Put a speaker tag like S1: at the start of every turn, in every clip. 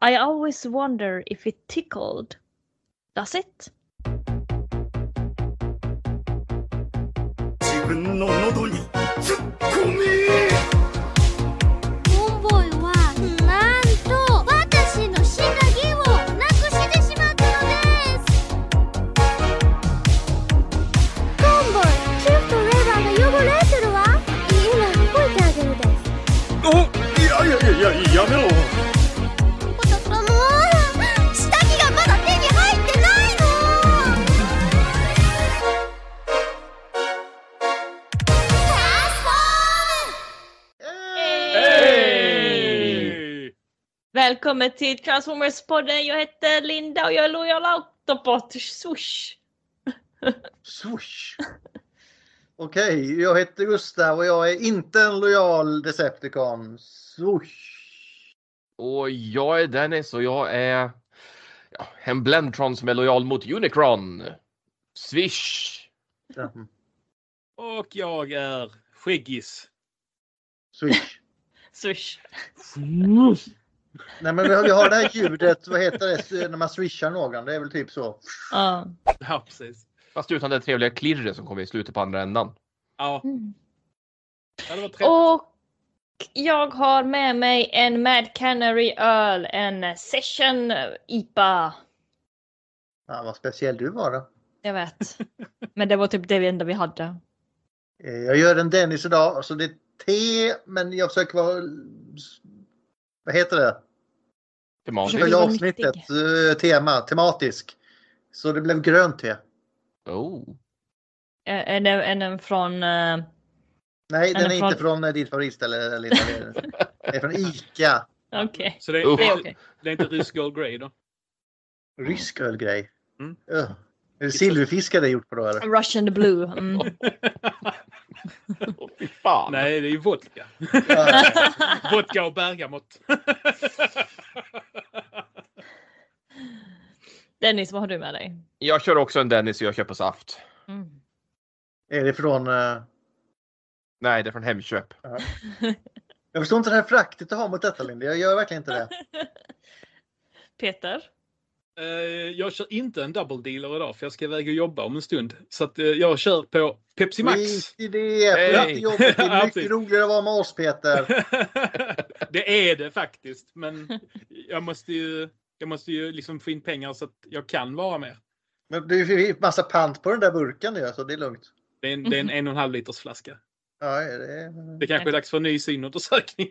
S1: I always wonder if it tickled. Does it?
S2: 自分の喉に突っ込み
S3: ボンボイはなんと私の品着をなくしてしまったのですボンボイシフトレバーが汚れてるわ今拭いてあげるです
S2: おいやいやいやいややめろ
S3: もう下着がまだ手に入ってないのト
S2: Hej!
S1: Välkommen till Transformers-podden. Jag heter Linda och jag är lojal autobot. Swoosh!
S4: Swoosh! Okej, jag heter Gustav och jag är inte en lojal Decepticon. Swoosh!
S5: Och jag är Dennis och jag är ja, en Blendtron som är lojal mot Unicron. Swish!
S4: Ja,
S6: Och jag är Skäggis.
S4: Swish!
S1: Swoosh!
S4: Nej men vi har, vi har det här ljudet, vad heter det, när man swishar någon? Det är väl typ så.
S1: Ja.
S6: Ja, precis.
S5: Fast utan det trevliga klirret som kommer i slutet på andra ändan.
S6: Ja, ja, det var trevligt.
S1: Mm. Och jag har med mig en Mad Canary öl, en session IPA.
S4: Ja, vad speciell du var då.
S1: Jag vet. Men det var typ det enda vi hade.
S4: Eh, Jag gör en Dennis idag, så det är te, men jag försöker vara... Vad heter det?
S1: Försök-
S5: Tematiskt.
S4: Själva
S1: vara
S4: avsnittet,
S1: nyttig.
S4: eh, tema, tematisk. Så det blev grönt te.
S5: Oh.
S1: Eh, Är det är den från... eh,
S4: Nej,
S1: Den
S4: den
S1: är
S4: är
S1: från-
S4: inte från eh, ditt favoritställe Linda. Det är- det är från ICA.
S1: Okej.
S6: Så det,
S5: Uff.
S1: Det
S6: det,
S1: är okej.
S6: det är inte rysk Gold Grey då?
S4: Rysk ölgrej.
S6: Mm.
S4: Ugh. Är det silverfiskar det är gjort på då eller?
S1: Russian Blue. Mm.
S5: Åh, fy fan.
S6: Nej, det är ju vodka.
S4: Ja.
S6: Vodka och bergamott.
S1: Dennis, vad har du med dig?
S5: Jag kör också en Dennis och jag köper saft.
S1: Mm.
S4: Är det från... eh,
S5: Nej, det är från Hemköp.
S4: Jag förstår inte det här fraktet du har mot detta Linda. Jag gör verkligen inte det.
S1: Peter?
S6: Eh, jag kör inte en double dealer idag för jag ska iväg och jobba om en stund. Så att, eh, jag kör på Pepsi Max.
S4: Skit i det! Flytta
S5: Hej.
S4: till jobbet. Det
S6: Ja,
S4: är mycket
S6: precis.
S4: roligare att vara med oss Peter.
S6: det är det faktiskt. Men jag måste ju, jag måste ju liksom få in pengar så att jag kan vara med.
S4: Men det är ju massa pant på den där burken nu så det är lugnt.
S6: Det är en, det är en en och en halv liters flaska.
S4: Ja, det är
S6: Det kanske är dags för en ny synundersökning.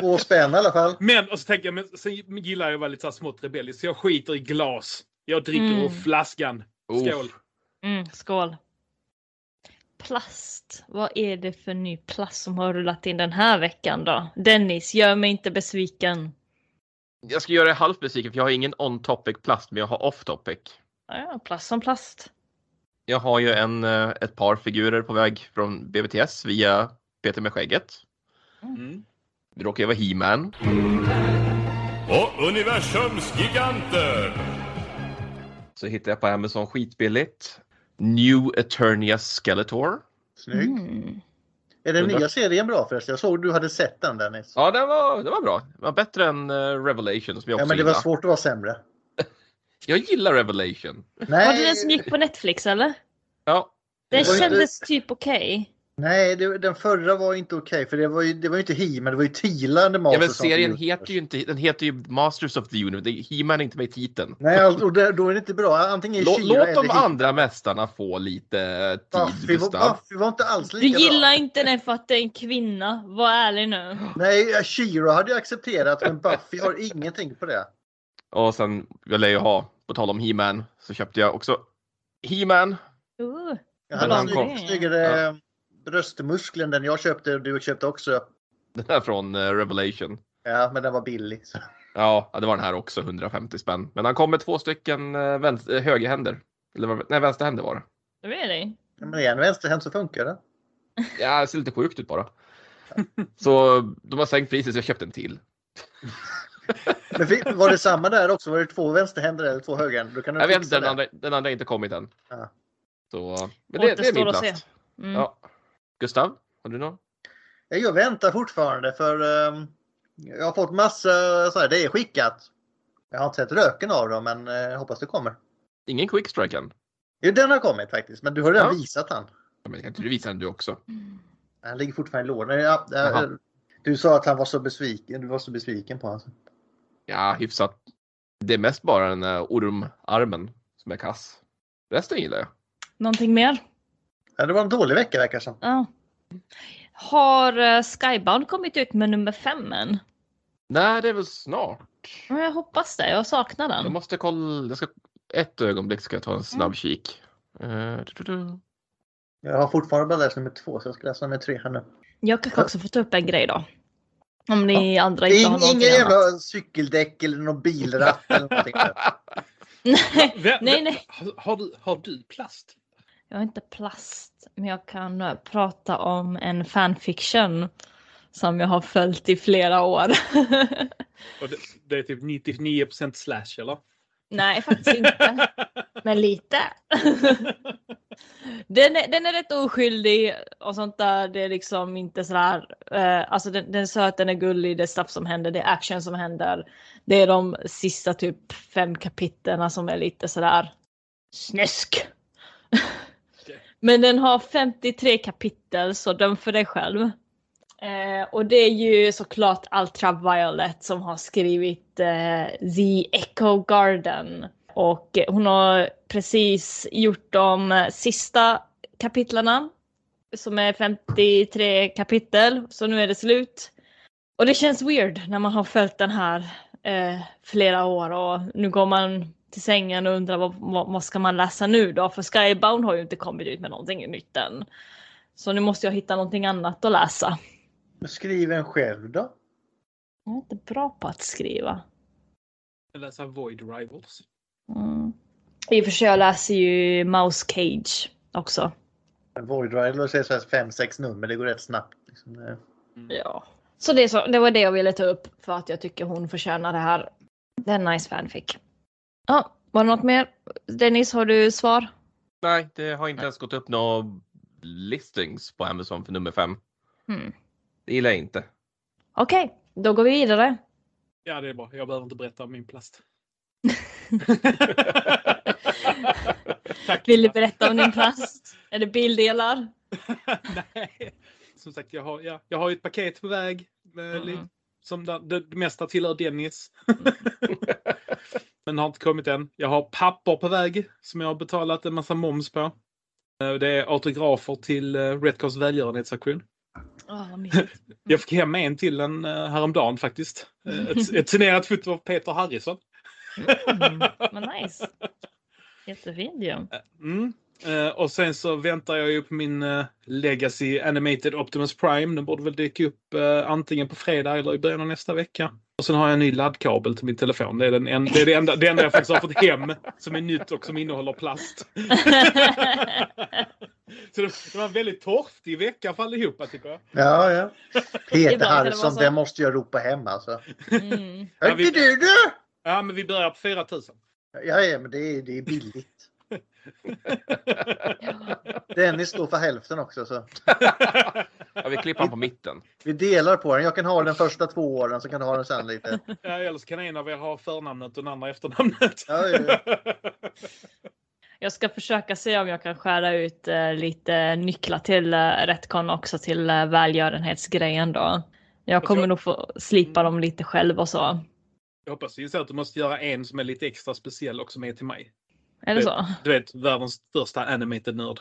S4: två spänn i alla fall.
S6: men, och så tänker jag, men sen gillar jag att vara lite så här smått rebellisk, så jag skiter i glas. Jag dricker
S1: Mm.
S6: ur flaskan. Skål.
S5: Uff.
S1: Mm, skål. Plast. Vad är det för ny plast som har rullat in den här veckan då? Dennis, gör mig inte besviken.
S5: Jag ska göra er halvt besviken för jag har ingen on topic plast men jag har off topic.
S1: Ja, ja, plast som plast.
S5: Jag har ju en, eh, ett par figurer på väg från BBTS via Peter med skägget.
S6: Mm.
S5: Det råkar ju vara He-Man.
S2: och universums giganter
S5: Så hittade jag på Amazon skitbilligt. New Eternia Skeletor.
S4: Snyggt.
S1: Mm.
S4: Är den nya serien bra förresten? Jag såg du hade sett den Dennis.
S5: Ja, den var, den var bra. Den var bättre än eh, Revelation som jag också
S4: Ja, men det var
S5: gillar.
S4: svårt att vara sämre.
S5: Jag gillar Revelation.
S1: Var det
S4: Nej,
S1: den som gick på Netflix eller?
S5: Ja,
S1: Den
S4: Det var ju
S1: kändes typ okej.
S4: nej det, den förra var inte okej för det var ju, det var ju inte He, men det var ju Tila under
S5: ja men serien heter ju inte, den heter ju Masters of the Universe. Det- He-Man är inte med i titeln.
S4: Nej, all- och det, då är det inte bra. Antingen i
S5: Lå,
S4: Kina
S5: låt de
S4: eller hit.
S5: andra mästarna få lite eh, tid,
S4: Buffy var,
S5: Gustav.
S4: Buffy var inte alls
S1: Du
S4: lika
S1: gillar inte den för att det är en kvinna. Var ärlig nu.
S4: bra. Nej, Shira hade jag accepterat, men Buffy har ingenting på det.
S5: Och sen vill jag ju ha, på tal om He-Man, så köpte jag också He-Man.
S1: Uh,
S4: Jag
S5: Men
S4: hade
S5: han kom.
S4: sny- snyggare eh, bröstmuskeln den jag köpte och du köpte också.
S5: Den här från eh, Revelation.
S4: Ja, men den var billig. Så.
S5: Ja, ja, det var den här också, 150 spänn. Men han kom med två stycken eh, vänster, eh, högerhänder. Eller vad- nej, vänsterhänder var det.
S1: really?
S4: Men är en vänsterhänt så funkar det.
S5: Ja, det ser lite sjukt ut bara. Så de har sänkt priset så jag köpte en till.
S4: Men fi- var det samma där också? Var det två vänsterhänder eller två högerhänder? Då kan du
S5: Jag vet
S4: fixa
S5: inte, den
S4: det.
S5: andra, den andra har inte kommit än.
S4: Ja.
S5: Så, men det, det är
S1: Återstår
S5: min
S1: att se.
S5: plats.
S1: Mm.
S5: Ja. Gustav, har du någon?
S4: Ja, Jag väntar fortfarande för ehm, Jag har fått massa så här, det är skickat. Jag har inte sett röken av dem men eh, jag hoppas det kommer.
S5: Ingen quick strike än.
S4: Jo, den har kommit faktiskt men du har redan
S5: Ja.
S4: visat han.
S5: Ja, Men kan inte du visa den du också?
S4: Han ligger fortfarande i lådan. Ja, det-
S5: Jaha.
S4: du sa att han var så besviken. Du var så besviken på honom.
S5: Ja, hyfsat. Det är mest bara den där ormarmen som är kass. Resten gillar jag.
S1: Någonting mer?
S4: Ja, det var en dålig vecka verkar det som.
S1: Ja. Har eh, Skybound kommit ut med nummer fem än?
S5: Nej, det är väl snart.
S1: Ja, Jag hoppas det, jag saknar
S5: Jag
S1: den.
S5: måste kolla. Jag ska... Ett ögonblick ska jag ta
S4: Mm.
S5: en snabb kik. Eh, du, du, du.
S4: Jag har fortfarande bara läst nummer två så jag ska läsa nummer tre här nu.
S1: Jag kanske också får ta upp en grej då. Om ni andra inte har
S4: In,
S1: någonting
S4: Ingen
S1: annat.
S4: jävla cykeldäck eller någon bilratt eller någonting.
S1: Nej,
S6: Vem-
S1: nej, nej.
S6: Har, har, du, har du plast?
S1: Jag är inte plast, men jag kan eh, prata om en fanfiction som jag har följt i flera år.
S6: Och det, det är typ 99% slash eller?
S1: Nej, faktiskt inte. Men lite. den, är, den är rätt oskyldig och sånt där. Det är liksom inte sådär. Eh, alltså den, den är söt, den är gullig, det är stuff som händer, det är action som händer. Det är de sista typ fem kapitlerna som är lite sådär snäsk. Men den har 53 kapitel så döm för dig själv. Eh, och det är ju såklart Ultraviolet som har skrivit eh, The Echo Garden. Och eh, hon har precis gjort de eh, sista kapitlarna. Som är 53 kapitel, så nu är det slut. Och det känns weird när man har följt den här eh, flera år och nu går man till sängen och undrar vad, vad, vad ska man läsa nu då? För Skybound har ju inte kommit ut med någonting nytt än. Så nu måste jag hitta någonting annat att läsa.
S4: Skriv en själv då.
S1: Jag är inte bra på att skriva.
S6: Läsa Void Rivals.
S1: Mm. I och för sig, jag läser ju Mouse Cage också.
S4: Void Rider säger så här fem, sex nummer. Det går rätt snabbt. Liksom. Eh,
S1: Ja. Så det, är så det var det jag ville ta upp för att jag tycker hon förtjänar det här. Det är en nice fanfic. Ja, var det något mer? Dennis, har du svar?
S5: Nej, det har inte ens gått upp några listings på Amazon för nummer fem.
S4: Hmm.
S1: Mm.
S5: Det gillar jag inte.
S1: Okej, då går vi vidare.
S6: Ja, det är bra. Jag behöver inte berätta om min plast. Tack.
S1: Vill du
S6: Linda.
S1: berätta om din plast? Eller bildelar?
S6: Nej. Som sagt, jag har, ja, jag har ju ett paket på väg. Med,
S1: Mm.
S6: li- Som där- det, det mesta tillhör Dennis. Men har inte kommit än. Jag har papper på väg som jag har betalat en massa moms på. Eh, Det är autografer till eh, Redcars välgörenhetsaktion.
S1: Åh, Ah, vad mysigt.
S6: Jag fick hem en till en eh, häromdagen faktiskt. Eh, Ett, ett signerat foto av Peter Harrison.
S1: Mm, vad nice. Jättefint ju.
S6: Mm. Eh, och sen så väntar jag ju på min eh, Legacy Animated Optimus Prime. Den borde väl dyka upp eh, antingen på fredag eller i början av nästa vecka. Och sen har jag en ny laddkabel till min telefon. Det är, den en, det, är det, enda, det enda jag faktiskt har fått hem som är nytt och som innehåller plast. så det, det var en väldigt torftig vecka för allihopa tycker jag.
S4: Ja, ja.
S1: Ibland kan
S4: Peter
S1: det vara
S4: Harrison,
S1: så.
S4: det måste jag ropa hem alltså.
S1: Mm.
S6: Ja,
S4: Hörde
S6: vi-
S4: du du?
S6: Ja, men vi börjar på 4000.
S4: Ja, ja men det är, det är billigt. Dennis står för hälften också. Så.
S5: Ja, vi klipper han på mitten.
S4: Vi delar på den. Jag kan ha den första två åren så kan du ha den sen lite.
S6: Ja, eller så kan en av er ha förnamnet och den andra efternamnet.
S4: Ja, ja.
S1: Jag ska försöka se om jag kan skära ut eh, lite nycklar till eh, Retcon också till eh, välgörenhetsgrejen då. Jag kommer
S6: tror-
S1: nog få slipa dem lite själv och så.
S6: Jag hoppas ju så att du måste göra en som är lite extra speciell och som är till mig.
S1: Är det så?
S6: Du vet, världens största animated nörd.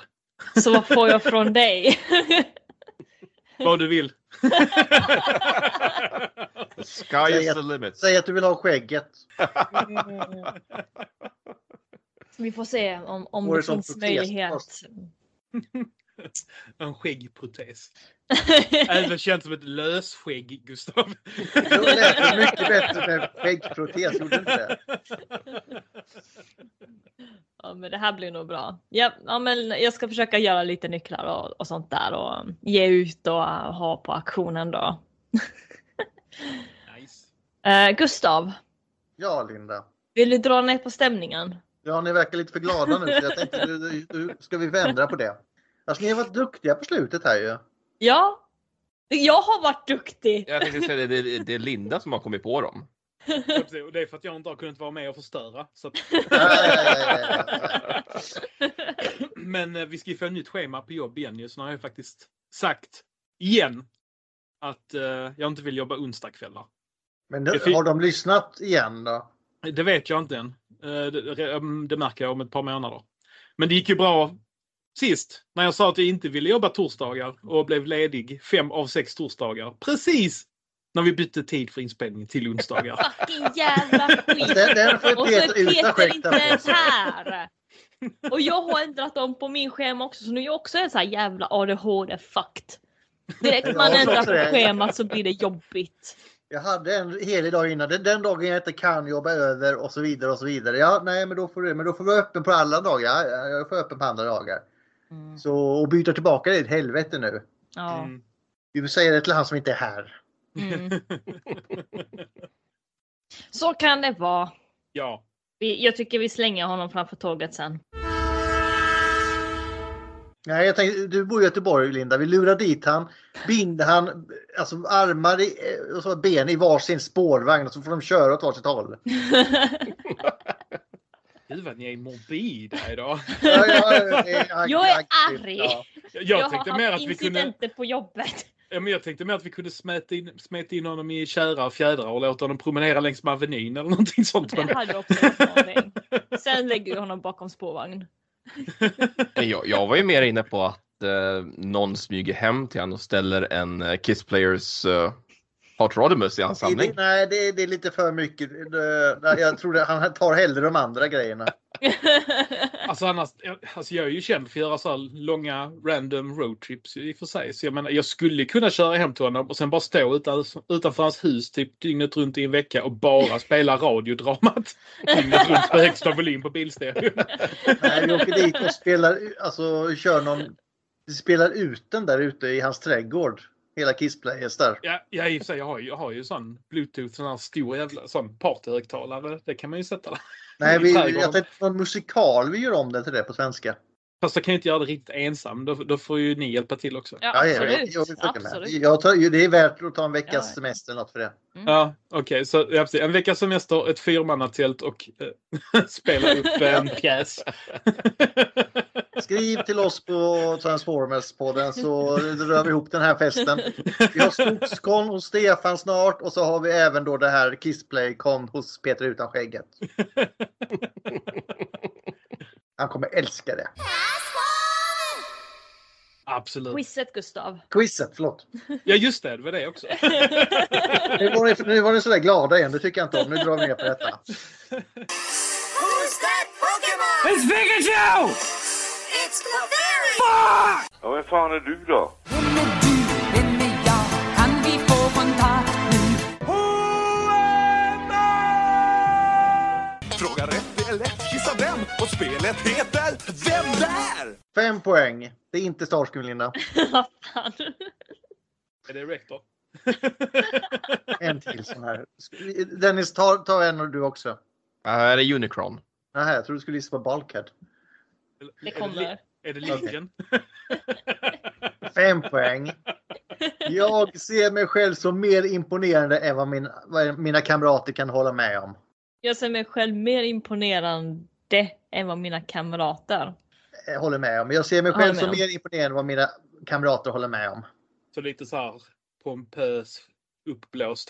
S1: Så vad får jag från dig?
S6: Vad du vill.
S5: The sky is the limit.
S4: Säg att du vill ha skägget.
S1: Vi får se om, om
S4: Får
S1: det
S4: det som
S1: finns
S4: protes
S1: möjlighet.
S4: först.
S6: en skäggprotes. Även känt som ett lösskägg, Gustav.
S4: Det lät det mycket bättre med skäggprotes. Gjorde inte det?
S1: ja, men det här blir nog bra. Ja, ja, men jag ska försöka göra lite nycklar och, och sånt där och ge ut och eh, ha på auktionen då.
S6: Nice.
S1: Eh, Gustav,
S4: Ja, Linda.
S1: vill du dra ner på stämningen?
S4: Ja, ni verkar lite för glada nu. Så jag tänkte, du, du, du, ska vi vända på det? Alltså, ni har varit duktiga på slutet här ju.
S1: Ja, Jag har varit duktig.
S5: Jag tänkte säga det, det, det är Linda som har kommit på dem.
S6: Och det är för att jag inte har kunnat vara med och förstöra. Så att, men eh, vi ska ju få ett nytt schema på jobb igen ju, så nu har jag faktiskt sagt igen att eh, jag inte vill jobba onsdagskvällar.
S4: Men
S6: Jag fick-
S4: har de lyssnat igen då?
S6: Det vet jag inte än. Eh, Det, det- mm, det märker jag om ett par månader. Men det gick ju bra sist när jag sa att jag inte ville jobba torsdagar och blev ledig fem av sex torsdagar. Precis när vi bytte tid för inspelning till onsdagar.
S1: Fucking jävla skit.
S4: Den, den får
S1: Och så är
S4: Peter ut att
S1: Peter
S4: skäkta
S1: inte
S4: på.
S1: ens här. Och jag har ändrat dem på min schema också så nu är jag också en så här jävla ADHD-fucked. Direkt man
S4: Ja, så
S1: ändrar
S4: också det.
S1: på schemat så blir det jobbigt.
S4: Jag hade en helig dag innan. Det är Den dagen jag inte kan jobba över och så vidare och så vidare. Ja, nej, men då får du, men då får du vara öppen på alla dagar. Ja, Jag får vara öppen på andra dagar. Så och byta tillbaka det är ett helvete nu.
S1: Ja.
S6: Mm.
S4: Du säger det till han som inte är här.
S1: Mm. Så kan det vara.
S6: ja.
S1: Vi- Jag tycker vi slänger honom framför tåget sen.
S4: Nej, jag tänkte, du bor i Göteborg Linda. Vi lurar dit han, binder han, alltså armar i, eh, och så ben i varsin spårvagn och så får de köra åt varsitt håll.
S6: Gud vad ni är morbida idag.
S4: Ja, ja, det är
S1: Jag är
S4: aktivt,
S1: arg.
S4: ja.
S1: Jag,
S6: Jag, jag,
S1: har
S6: tänkte
S1: haft
S6: mer att vi
S1: incidenter
S6: kunde,
S1: på jobbet.
S6: ja, men jag tänkte mer att vi kunde smeta in, smeta in honom i kära och fjädrar och låta honom promenera längs med Avenyn eller någonting sånt.
S1: Det hade också varit en aning. Sen lägger vi honom bakom spårvagn.
S5: Men Jag, jag var ju mer inne på att eh, någon smyger hem till honom och ställer en eh, Kiss Players eh, Hot Rodimus i hans samling.
S4: Det- Nej, det, är- det är lite för mycket. Det- det- Jag tror att han tar hellre de andra grejerna.
S6: Alltså annars, alltså jag är ju känd för att göra så här långa random roadtrips i och för sig. Så jag menar, jag skulle kunna köra hem till honom och sen bara stå utan, utanför hans hus typ dygnet runt i en vecka och bara spela radiodramat. Dygnet runt på högsta volym på bilstereon.
S4: Nej, vi åker dit och spelar, u- alltså kör någon, vi spelar ut den där ute i hans trädgård. Hela Kiss Players där.
S6: Ja, ja, i och för sig, jag har ju, jag har ju sån bluetooth, sån här stor jävla sån partyhögtalare. Det kan man ju sätta där.
S4: Nej,
S6: I
S4: vi,
S6: trädgården.
S4: jag tänkte på en musikal, vi gör om den till det på svenska.
S6: Fast jag kan ju inte göra det riktigt ensam. Då, då får ju ni hjälpa till också.
S1: Ja,
S4: Ja, ja,
S1: absolut.
S4: jag, jag, jag, jag,
S1: absolut.
S4: jag tar, ju- det är värt att ta en veckas
S1: Ja.
S4: semester eller något för det.
S1: Mm.
S6: Ja, okej. Så ja, precis. en veckas semester, ett fyrmannatält och eh, spela upp en pjäs.
S4: Skriv till oss på Transformers-podden så rör vi ihop den här festen. Vi har skogskonn hos Stefan snart och så har vi även då det här Kissplay-kon hos Peter utan skägget. Han kommer älska det.
S6: Absolut.
S1: Quizet Gustav.
S4: Quizet, förlåt.
S6: Ja, just det. Det var det också.
S4: Nu var ni, nu var ni sådär glada igen, det tycker jag inte om. Nu drar vi ner på detta.
S7: It's Pikachu!
S3: It's Clefairy!
S8: Ja, vem fan är du då?
S7: Vem är du? Vem är jag? Kan vi få kontakt nu?
S2: Fråga rätt är lätt, gissa vem? Och spelet heter Vem där?
S4: Fem poäng. Det är inte Starscream, Linda.
S1: Vad fan.
S6: är det rektor?
S4: En till sån här. Dennis, ta, ta en och du också.
S5: Här är Unicron.
S4: Nähä, jag trodde du skulle gissa på Bulkhead.
S1: Det
S6: Är det,
S1: kommer.
S6: li- är det Lincoln?
S4: Fem poäng. Jag ser mig själv som mer imponerande än vad, min, vad mina kamrater kan hålla med om.
S1: Jag ser mig själv mer imponerande än vad mina kamrater.
S4: Jag Eh, håller med om. Jag ser mig
S1: Håller
S4: själv
S1: med
S4: som
S1: om.
S4: mer imponerande än vad mina kamrater håller med om.
S6: Så lite så här pompös, uppblåst,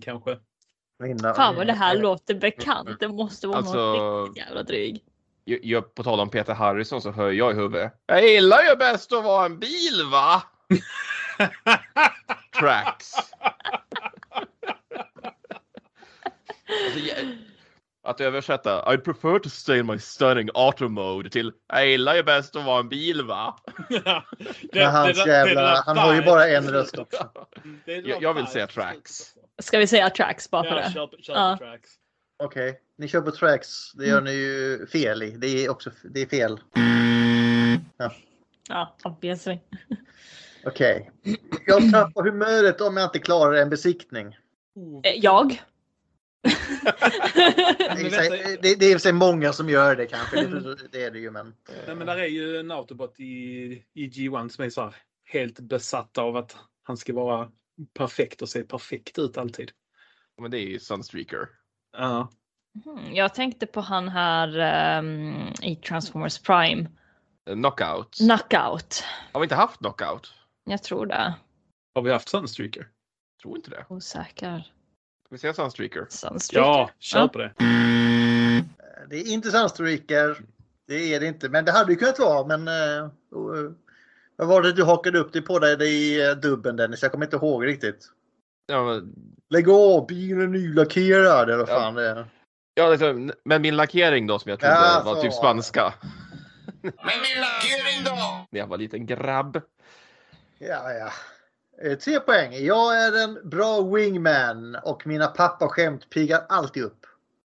S6: kanske.
S4: Mina,
S1: Fan vad det här låter
S4: Mm.
S1: bekant. Det måste vara
S5: Alltså-
S1: någon riktigt jävla dryg.
S5: Jag, jag, på tal om Peter Harrison så höjer jag i huvudet. Jag gillar ju bäst att vara en bil va? Tracks. alltså, jag, att översätta I prefer to stay in my stunning auto mode till Jag gillar ju bäst att vara en bil va?
S6: Ja, det- det-
S4: Med hans
S6: det- det-
S4: jävla,
S6: det-
S4: han har ju
S6: det-
S4: bara en röst också.
S6: Det- det-
S5: Jag- jag vill säga
S6: det-
S5: tracks.
S1: Ska vi säga tracks bara för
S6: Ja,
S1: det?
S6: kör, på- kör
S1: Ja.
S6: på tracks.
S4: Okej, ni kör på tracks. Det
S1: Mm.
S4: gör ni ju fel i. Det är också det är fel.
S1: Ja, obviously.
S4: Okej. Jag tappar humöret om jag inte klarar en besiktning.
S6: Oh,
S1: Eh, Jag?
S4: Det är i
S6: Men
S4: och för sig-
S6: vänta- Mm.
S4: det- det är i och för sig många som gör det kanske. Det- Det är det ju men.
S6: Nej, men där är ju en autobot i, i G1 som är så här helt besatt av att Han ska vara perfekt och se perfekt ut alltid.
S5: Men det är ju Sunstreaker.
S6: Ja.
S1: Mhm, Jag tänkte på han här ehm, i Transformers Prime.
S5: Eh, Knockout.
S1: Knockout.
S5: Har vi inte haft knockout?
S1: Jag tror det.
S6: Har vi haft Sunstreaker?
S5: Tror inte det. Ska
S1: Osäker.
S5: vi säga Sunstreaker?
S1: Sunstreaker.
S6: Ja, kör
S1: Ja.
S6: på det.
S4: Det är inte Sunstreaker. Det är det inte. Men det hade ju kunnat vara. Men eh, och, eh, vad var det du hakade upp dig på dig i eh, dubben Dennis? Jag kommer inte ihåg riktigt.
S5: Ja, men-
S4: Lägg av, bilen är nylackerad eller vad
S5: Ja.
S4: fan det är.
S5: ja, liksom, men min lackering då som jag trodde
S4: Ja,
S5: var
S4: så.
S5: typ spanska
S2: Men min lackering då?
S5: när jag var liten grabb.
S4: Ja, ja. Eh, Tre poäng. Jag är en bra wingman och mina pappaskämt piggar alltid upp.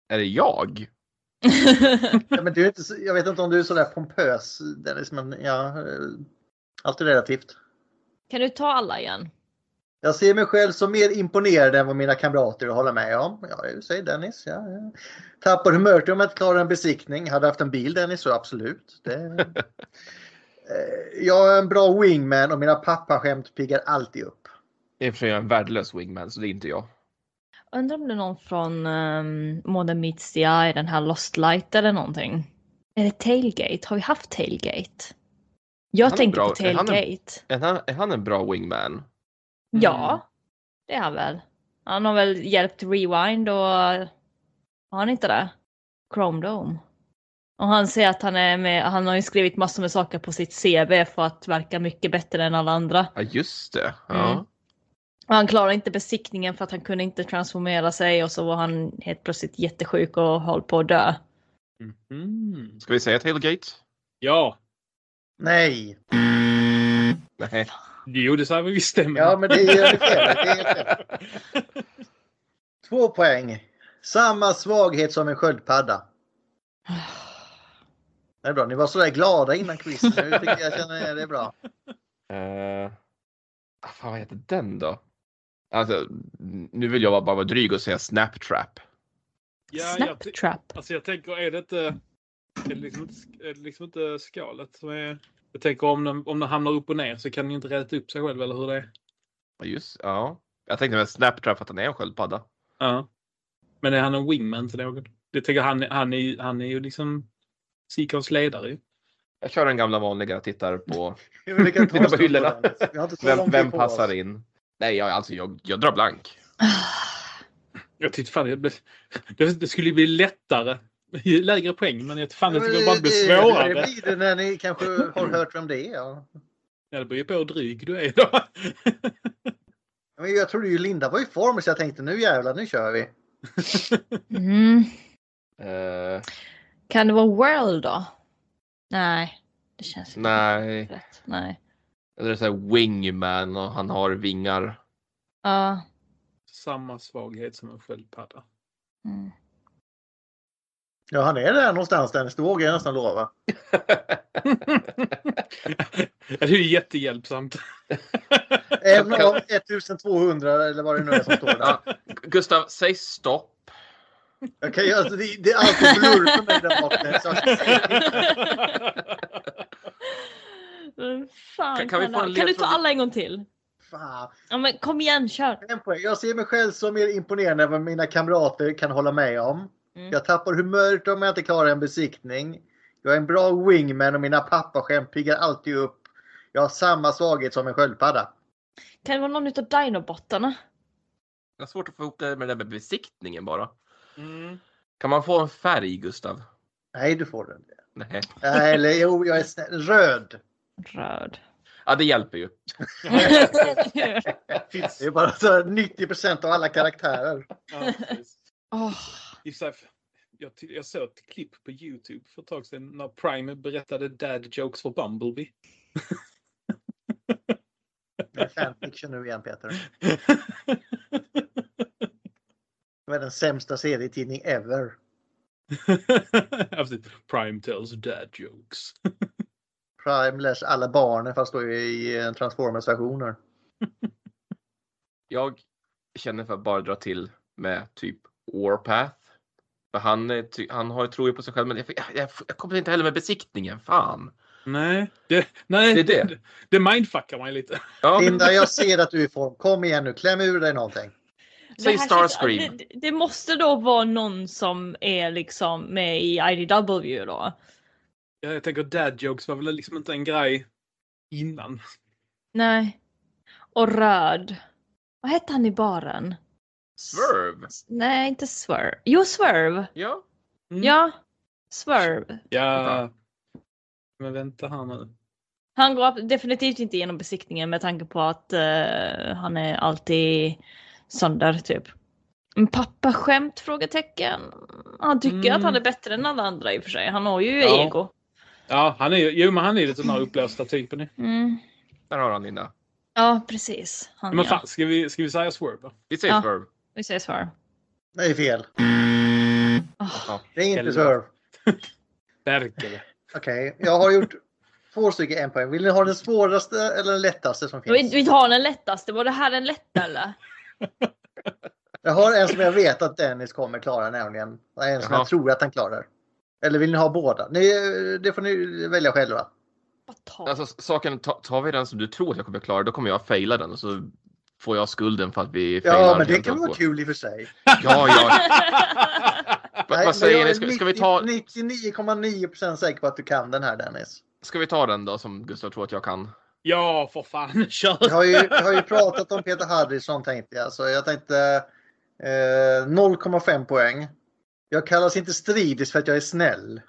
S5: Är det jag?
S4: Ja, men du är inte, så- jag vet inte om du är sådär pompös Dennis, men ja. eh, Allt är relativt.
S1: kan du ta alla igen?
S4: Jag ser mig själv som mer imponerad än vad mina kamrater håller med om. Ja, det säger Dennis. Ja, ja. Tappar humöret om jag inte klarar en besiktning. Hade jag haft en bil Dennis så absolut. Det... Eh, jag är en bra wingman och mina pappaskämt piggar alltid upp.
S5: I och för sig är jag en värdelös wingman så det är inte jag.
S1: Undrar om det är någon från um, Modern Meets the Eye, den här Lost Light eller någonting. Är det Tailgate? Har vi haft Tailgate? Jag
S5: Han är
S1: tänker
S5: bra.
S1: på
S5: Är han en-
S1: Tailgate.
S5: Är han, är han en bra wingman?
S1: Ja, det är han väl. Han har väl hjälpt Rewind och har han inte det? Chrome Dome. Och han säger att han är med, han har ju skrivit massor med saker på sitt CV för att verka mycket bättre än alla andra.
S5: Ja just det. Ja.
S1: Mm. Och han klarade inte besiktningen för att han kunde inte transformera sig och så var han helt plötsligt jättesjuk och höll på att dö.
S6: Mhm.
S5: Ska vi säga tailgate?
S6: Ja,
S4: Nej,
S5: Nej.
S6: jo det säger vi visst det. men-
S4: ja men det är ju fel. Det är fel. Två poäng. Samma svaghet som en sköldpadda. Det är bra. Ni var sådär glada innan quizen. Nu tycker jag känner det är bra.
S5: Eh, ah, fan vad heter den då? Alltså, nu vill jag bara vara dryg och säga Snaptrap.
S6: ja, jag,
S1: Snap Trap.
S6: alltså jag tänker, är det inte, är det liksom inte, sk- är det liksom inte skalet som är... Jag tänker om den, om den hamnar upp och ner så kan den ju inte räta upp sig själv eller hur det är.
S5: Ja, Just, ja. Jag tänkte med Snaptrap för att han är en sköldpadda.
S6: Ja. Men är han en wingman till någon? Det tänker jag, han, han, är, ju- han är ju liksom Seacons ledare ju.
S5: Jag kör den gamla vanliga, tittar på
S4: Hur vi kan
S5: Titta på
S4: oss upp
S5: hyllorna.
S4: den. Vi har inte så lång
S5: vem,
S4: tid
S5: vem
S4: på
S5: passar
S4: oss.
S5: in. Nej, jag, alltså jag, jag drar blank.
S6: Jag tyckte fan det, blev, det, det skulle ju bli lättare. Ju lägre poäng, men jag tyckte fan det skulle bara bli
S4: Det- Det
S6: svårare.
S4: blir det när ni kanske har hört vem det är. Ja.
S6: Ja, det beror ju på hur dryg du är då.
S4: Men jag trodde ju Linda var i form så jag tänkte nu jävlar, nu kör vi.
S1: Mm.
S5: Eh,
S1: Kan det vara World då? Nej, det känns inte
S5: nej,
S1: rätt. Nej.
S5: eller så här wingman och han har vingar.
S1: Ja.
S6: Samma svaghet som en sköldpadda.
S1: Mm.
S4: Ja, han är där någonstans Dennis. Det vågar jag nästan lova.
S6: Ja, det är ju jättehjälpsamt.
S4: Även om 1200 eller vad det nu är som står där.
S5: Gustav, säg stopp.
S4: Jag kan, ju- alltså, det, det är alltid blurr för mig där bak. Dennis. Jag-
S1: Vem Fan,
S5: Kan-
S1: kan,
S5: kan vi
S1: kan,
S5: få en
S1: kan du ta
S5: ledtråd?
S1: alla en gång till?
S4: Fan.
S1: Ja, men kom igen, kör.
S4: En poäng. Jag ser mig själv som mer imponerande än vad mina kamrater kan hålla med om.
S1: Mm.
S4: Jag tappar humöret om jag inte klarar en besiktning. Jag är en bra wingman och mina pappaskämt piggar alltid upp. Jag har samma svaghet som en sköldpadda.
S1: Kan det vara någon utav dinobottarna?
S5: Jag har svårt att få ihop det med det där med besiktningen bara.
S6: Mm.
S5: Kan man få en färg, Gustav?
S4: Nej, du får den.
S5: Nej.
S4: Nej, eller jo, jag är snäll. Röd.
S1: Röd.
S5: Ja, det hjälper ju.
S4: Det är bara så här 90 av alla karaktärer.
S6: Ja, precis.
S1: Åh,
S6: I och för sig, jag, ty- jag såg ett klipp på Youtube för ett tag sedan när Prime berättade dad jokes för Bumblebee.
S4: Det är fanfiction nu igen Peter. Det var den sämsta serietidning ever.
S6: Ja, precis. Prime tells dad jokes.
S4: Prime läser alla barnen fast då i eh, Transformers-versioner.
S5: Jag känner för att bara dra till med typ Warpath. För han, är ty- han har, tror ju på sig själv, men jag, jag, jag, jag kommer inte heller med besiktningen. Fan.
S6: Nej, det, nej,
S5: Det är det.
S6: det mindfuckar mig lite.
S5: Ja.
S4: Linda, jag ser att du är i form. Kom igen nu, kläm ur dig någonting.
S1: Det här
S5: Säg Starscream.
S1: känns- Det, det måste då vara någon som är liksom med i IDW då.
S6: Ja, Jag tänker dad jokes var väl liksom inte en grej innan.
S1: Nej. Och röd. Vad hette han i baren?
S5: Swerve.
S1: S- Nej, inte Swerve. Jo, Swerve.
S5: Ja.
S6: Mm.
S1: Ja. Swerve.
S6: Ja. Men vänta här nu.
S1: Han går ab- definitivt inte igenom besiktningen med tanke på att eh, han är alltid sönder typ. En pappa skämt? Frågetecken. Han tycker
S6: Mm.
S1: att han är bättre än alla andra i och för sig. Han har ju
S6: Ja.
S1: ego.
S6: Ja, han är ju, jo men han är ju lite den här uppblåsta typen. ju.
S1: Mm.
S5: Där har han Linda.
S1: Ja, precis. Han,
S6: Men
S1: ja.
S6: fan, ska vi, ska vi säga Swerve då?
S5: Vi säger
S1: Ja.
S5: Swerve.
S1: Vi säger Swerve.
S4: Nej, fel.
S1: Åh,
S4: Det är inte
S6: Helvete.
S4: Swerve.
S6: Verkar det.
S4: Okej, jag har gjort två stycken en poäng. Vill ni ha den svåraste eller den lättaste som
S1: vi,
S4: finns?
S1: vi tar den lättaste. Var det här den lätta eller?
S4: Jag har en som jag vet att Dennis kommer klara nämligen. Och en som
S5: Jaha.
S4: jag tror att han klarar. Eller vill ni ha båda? Ni, det får ni välja själva.
S1: Bara ta.
S5: Alltså s- saken, ta- tar vi den som du tror att jag kommer klara, då kommer jag faila den och så får jag skulden för att vi failar
S4: Ja, men det
S5: helt
S4: kan
S5: och
S4: vara
S5: hållet.
S4: kul i och för sig.
S5: Ja, ja. Va,
S4: Nej, men
S5: vad säger
S4: jag är
S5: ni? Ska, ska, vi ta,
S4: 99,9% säker på att du kan den här Dennis.
S5: ska vi ta den då som Gustav tror att jag kan?
S6: Ja, för fan. Kör!
S4: Jag har ju, jag har ju pratat om Peter Harrison tänkte jag, så jag tänkte eh, 0,5 poäng. Jag kallas inte stridis för att jag är snäll.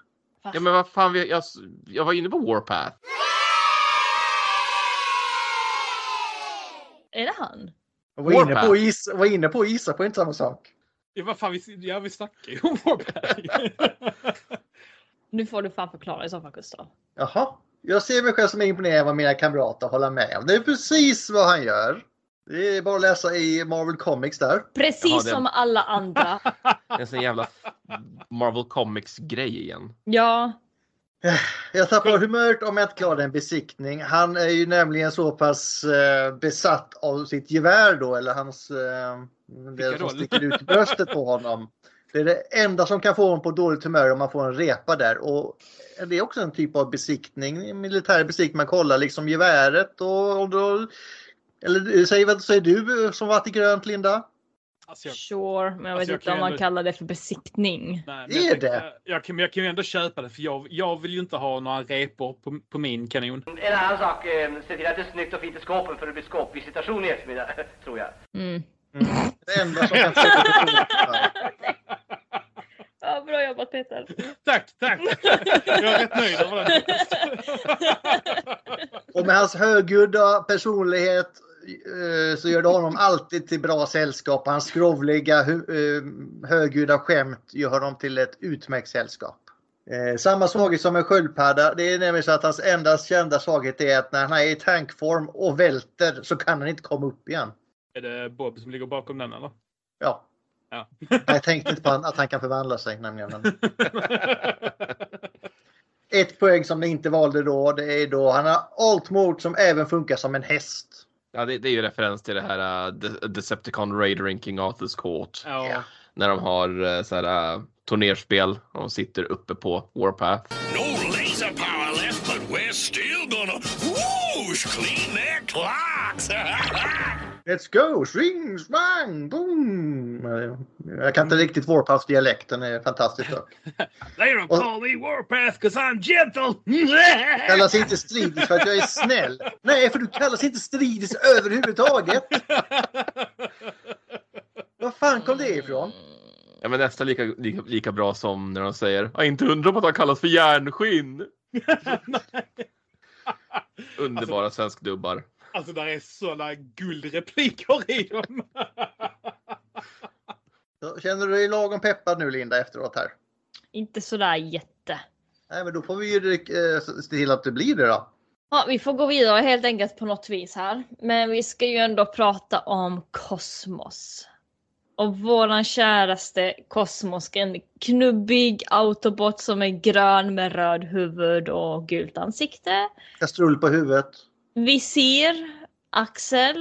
S5: Ja, men vad fan, vi, jag, jag var inne på Warpath.
S1: Är det han?
S4: Jag var inne
S5: Warpath.
S4: på, att gissa- var inne på att gissa på inte samma sak.
S6: Ja, vad fan, vi, ja, vi snackar ju om Warpath.
S1: Nu får du fan förklara i så fall Gustav.
S4: Jaha. Jag ser mig själv som mer imponerad än vad mina kamrater håller med om. Det är precis vad han gör. Det är bara att läsa i Marvel Comics där.
S1: Precis
S5: Jaha, det-
S1: som alla andra.
S5: En sån jävla Marvel Comics-grej igen.
S1: Ja,
S6: Alltså,
S4: Jag tappar humöret om jag inte klarar en besiktning. Han är ju nämligen så pass eh, besatt av sitt gevär då, eller hans... Eh, det som
S6: Pickadoll.
S4: sticker ut i bröstet på honom. Det är det enda som kan få honom på dåligt humör om man får en repa där. Och det är också en typ av besiktning, en militär besiktning. Man kollar liksom geväret och, och då... Eller säg, vad säger du som varit i grönt, Linda?
S6: Alltså, jag,
S1: sure. Men jag vet
S6: Alltså, jag
S1: inte
S6: kan
S1: om
S6: ju
S1: man
S6: ändå-
S1: kallar det för besiktning.
S6: nej,
S4: Är
S6: men jag, tänkte-
S4: det?
S6: Jag, kan, men jag kan ju ändå köpa det, för jag, jag vill ju inte ha några repor på, på min kanon.
S9: En annan sak, eh, se till att det är snyggt och fint i skåpen för det blir skåpvisitation i eftermiddag, tror jag.
S1: Mm.
S4: Det enda som kan få honom på dåligt humör.
S1: Ja, bra jobbat Peter.
S6: Tack, tack! Jag är rätt nöjd över det.
S4: Och med hans högljudda personlighet eh, så gör det honom alltid till bra sällskap. Hans skrovliga, hu- eh, högljudda skämt gör honom till ett utmärkt sällskap. Eh, Samma svaghet som en sköldpadda. Det är nämligen så att hans enda kända svaghet är att när han är i tankform och välter så kan han inte komma upp igen.
S6: Är det Bob som ligger bakom den, eller?
S4: Ja,
S6: Ja.
S4: jag tänkte inte på han- att han kan förvandla sig nämligen. Men Ett poäng som ni inte valde då, det är då han har allt mod som även funkar som en häst.
S5: Ja, det, det är ju referens till det här uh, De- Decepticon Raidering King Arthurs Court.
S6: ja.
S5: När de har uh, så här, uh, turnerspel och de sitter uppe på Warpath.
S2: No laser power left, but we're still gonna whoosh clean their clocks.
S4: Let's go! Swing, swang, boom! Jag kan inte riktigt Warpath-dialekten, är fantastisk dock.
S6: They don't
S4: Och-
S6: call me Warpath cause I'm gentle!
S4: Kallas inte stridis för att jag är snäll. Nej, för du kallas inte stridis överhuvudtaget. Var fan kom det ifrån?
S5: Ja, men nästan lika, lika, lika bra som när de säger ja, inte undra på att han kallas för järnskinn. Underbara svenskdubbar.
S6: Alltså där är såna guldrepliker i dem.
S4: Så, Känner du dig lagom peppad nu Linda efteråt här?
S1: Inte sådär jätte.
S4: Nej, men då får vi ju eh, se till att det blir det då.
S1: Ja, vi får gå vidare helt enkelt på något vis här. Men vi ska ju ändå prata om kosmos. Och våran käraste kosmos, en knubbig autobot som är grön med röd huvud och gult ansikte.
S4: Kastrull på huvudet.
S1: Vi ser Axel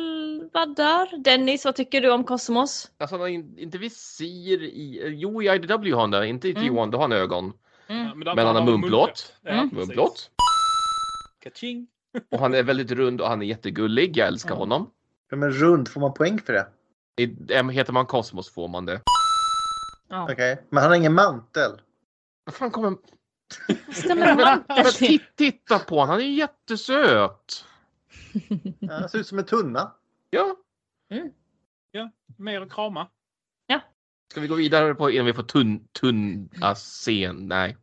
S1: var där. Dennis, vad tycker du om kosmos?
S5: Alltså han har in, inte visir i, eh, jo i IDW har han det, inte i
S1: Mm.
S5: T1, då har han ögon.
S6: Ja, där
S5: Men han har
S6: var de
S5: munplåt.
S6: munplåt. Ja,
S1: Mm.
S6: precis.
S5: Munblått.
S6: Kaching!
S5: Och han är väldigt rund och han är jättegullig. Jag älskar
S1: Ja.
S5: honom.
S4: Ja, Men rund, får man poäng för det?
S5: I- äm, Heter man Kosmos får man det.
S1: Ja.
S4: Okej. Men han har ingen mantel.
S5: Vad fan kommer...
S1: Stämmer
S5: Men,
S1: det
S5: men, men
S1: mantel till?
S5: ti- titta på honom, han är ju jättesöt!
S4: Ja, Han ser ut som en tunna.
S5: Ja.
S6: Mer att krama.
S5: Ska vi gå vidare på innan vi får tunn, tunn scen? Nej.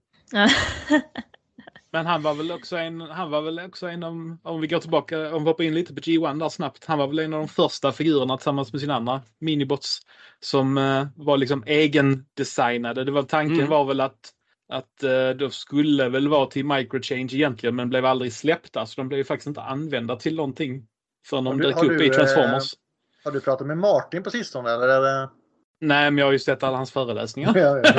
S6: Men han var väl också en, han var väl också en om, om vi går tillbaka, om vi hoppar in lite på G1 där snabbt. Han var väl en av de första figurerna tillsammans med sina andra minibots som eh, var liksom egendesignade. Det var tanken
S5: Mm.
S6: var väl att att eh, de skulle väl vara till microchange egentligen men blev aldrig släppta så de blev ju faktiskt inte använda till någonting förrän
S4: Har
S6: de
S4: du-
S6: dök
S4: har
S6: upp
S4: du, eh,
S6: i Transformers.
S4: Har du pratat med Martin på sistone eller? är det-
S6: Nej men jag har ju sett alla hans föreläsningar.
S4: Ja, ja.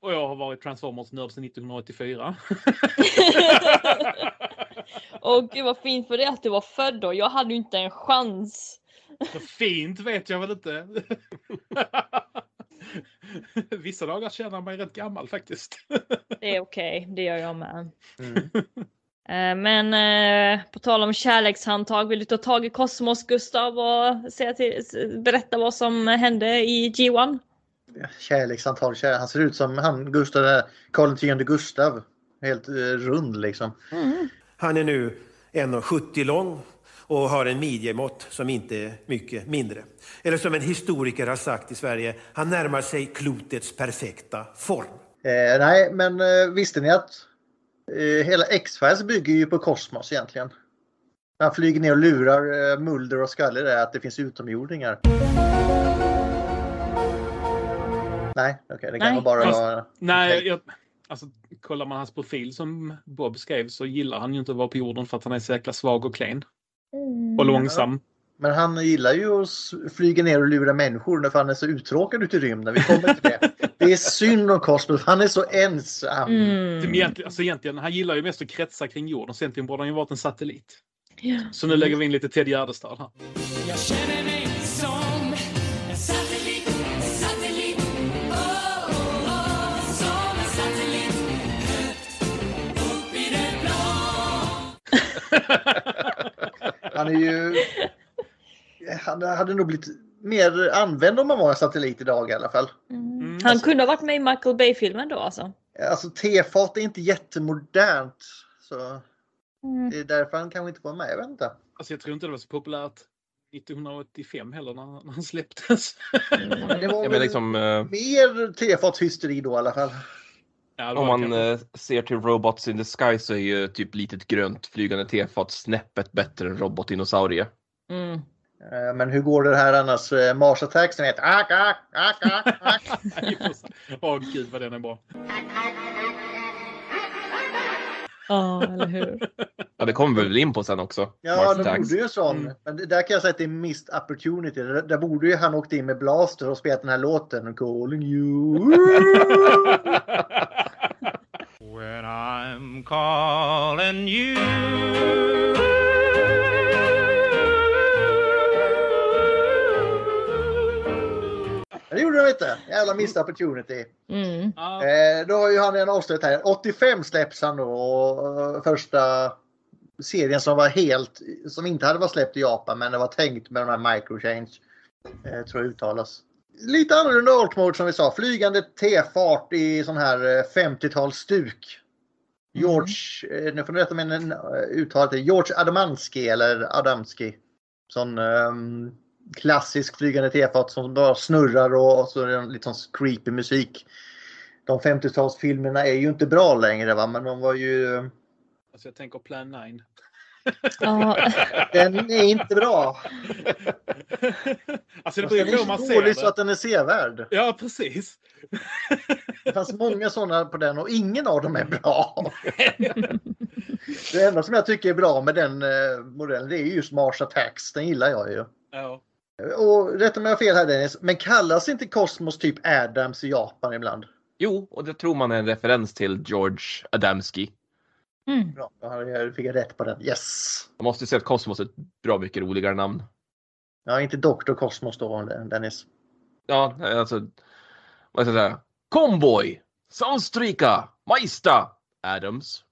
S6: Och jag har varit Transformers-nörd sedan 1984.
S1: Åh gud vad fint för det att du var född då. Jag hade ju inte en chans.
S6: Så fint vet jag väl inte. Vissa dagar känner man mig rätt gammal faktiskt.
S1: Det är okej, det gör jag med.
S4: Mm.
S1: Eh, Men eh, på tal om kärlekshandtag, vill du ta tag i Kosmos Gustav och säga till, s- berätta vad som hände i G1?
S4: Kärleksantal kär. Han ser ut som han Gustav, den här Karl X Gustav. Helt eh, rund liksom.
S10: Han är nu 1,70 lång och har en midjemått som inte är mycket mindre. Eller som en historiker har sagt i Sverige, han närmar sig klotets perfekta form.
S4: Eh, nej, men eh, visste ni att eh, hela X-Files bygger ju på kosmos egentligen? Han flyger ner och lurar eh, Mulder och Scully där att det finns utomjordingar. Nej, okej, det kan
S1: Nej.
S4: vara bara
S6: Fast-
S4: vara...
S6: Nej, jag, alltså, kollar man hans profil som Bob skrev så gillar han ju inte att vara på jorden för att han är så jäkla svag och klen. Och långsam.
S4: Men han gillar ju att s- flyga ner och lura människor för han är så uttråkad ute i rymden. Vi kommer till det. Det är synd om Cosmos, han är så ensam.
S6: Mm. Egentligen, alltså egentligen, han gillar ju mest att kretsa kring jorden, så egentligen borde han ju varit en satellit. Så nu lägger vi in lite Ted Gärdestad här.
S7: Jag känner mig som en satellit, satellit oh, oh, oh, Som en satellit högt upp i det blå
S4: Han är ju... Han hade nog blivit mer använd om man var en satellit idag i alla fall.
S6: Mm,
S1: Han
S6: alltså,
S1: kunde ha varit med i Michael Bay-filmen då alltså.
S4: Alltså tefat är inte jättemodernt. Så det är därför han kanske inte var med. Jag vet inte.
S6: alltså, jag tror inte det var så populärt 1985 heller när, när han släpptes.
S4: Men det var
S5: Ja,
S4: väl
S5: men liksom, eh,
S4: mer tefatshysteri då i alla fall.
S6: Ja, det
S5: om
S6: var
S5: man
S6: kanske-
S5: eh, ser till Robots in the Sky så är ju typ litet grönt flygande tefat snäppet bättre än robotdinosaurie.
S1: Mm.
S4: Eh, Men hur går det här annars? Eh, Mars Attacks den heter ak, ak, ak, ak, ak.
S6: Nej, för fan. Åh gud vad den är bra.
S1: Ja, eller hur.
S5: Ja, det kommer vi väl in på sen också.
S4: Ja,
S5: Mars
S4: de
S5: Attacks.
S4: borde ju sån.
S6: Mm.
S4: Men det- där kan jag säga att det är missed opportunity. Där, där borde ju han åkt in med blaster och spelat den här låten. Calling you.
S2: When I'm calling you.
S4: Men det gjorde de inte. Jävla missed opportunity.
S1: Mm.
S6: Ja,
S4: Eh, då har ju han en avslut här. 85 släpps han då. Och, eh, första serien som var helt, som inte hade varit släppt i Japan men det var tänkt med de här microchange. Eh, tror jag uttalas. Lite annorlunda art mode som vi sa. Flygande tefart i sån här eh, 50-talsstuk.
S6: Mm.
S4: George, eh, nu får ni rätta mig om jag eh, uttalet är George Adamanski eller Adamski. Sån ehm, klassisk flygande tefat som bara snurrar och, och så är det en lite sån creepy musik. De 50-talsfilmerna är ju inte bra längre va, men de var ju... eh,
S6: alltså jag tänker Plan 9.
S1: Ja.
S4: Den är inte bra.
S6: alltså
S4: Fast Den
S6: det beror
S4: är
S6: på hur man
S4: så
S6: ser
S4: dålig så
S6: det.
S4: att den är sevärd.
S6: Ja, precis.
S4: Det fanns många sådana på den och ingen av dem är bra. Det enda som jag tycker är bra med den eh, modellen det är ju just Mars Attacks. Den gillar jag ju.
S6: Ja.
S4: Och rätta mig om jag har fel här Dennis, men kallas inte Cosmos typ Adams i Japan ibland?
S5: Jo, och det tror man är en referens till George Adamski.
S1: Mm.
S4: Bra, då har jag- fick jag rätt på den. Yes!
S5: Man måste säga att Kosmos är ett bra mycket roligare namn.
S4: Ja, inte Dr. Cosmos då Dennis.
S5: Ja, alltså. Vad ska jag säga? Convoy, Soundstrika, Maista, Adams.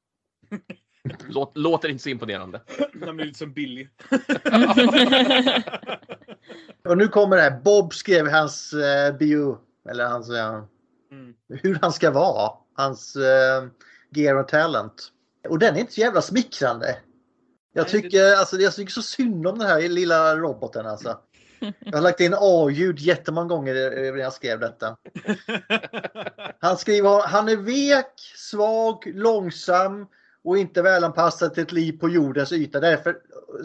S5: Låt, låter inte så imponerande.
S6: Den blir lite som liksom Billy.
S4: Och nu kommer det här. Bob skrev hans eh, bio. Eller hans... Eh,
S6: Mm.
S4: hur han ska vara. Hans eh, gear och talent. Och den är inte så jävla smickrande. Jag
S6: Nej, det-
S4: tycker, alltså, jag tycker så synd om den här lilla roboten alltså. Jag har lagt in A-ljud jättemånga gånger eh, när jag skrev detta. Han skriver han är vek, svag, långsam och inte välanpassad till ett liv på jordens yta. Därför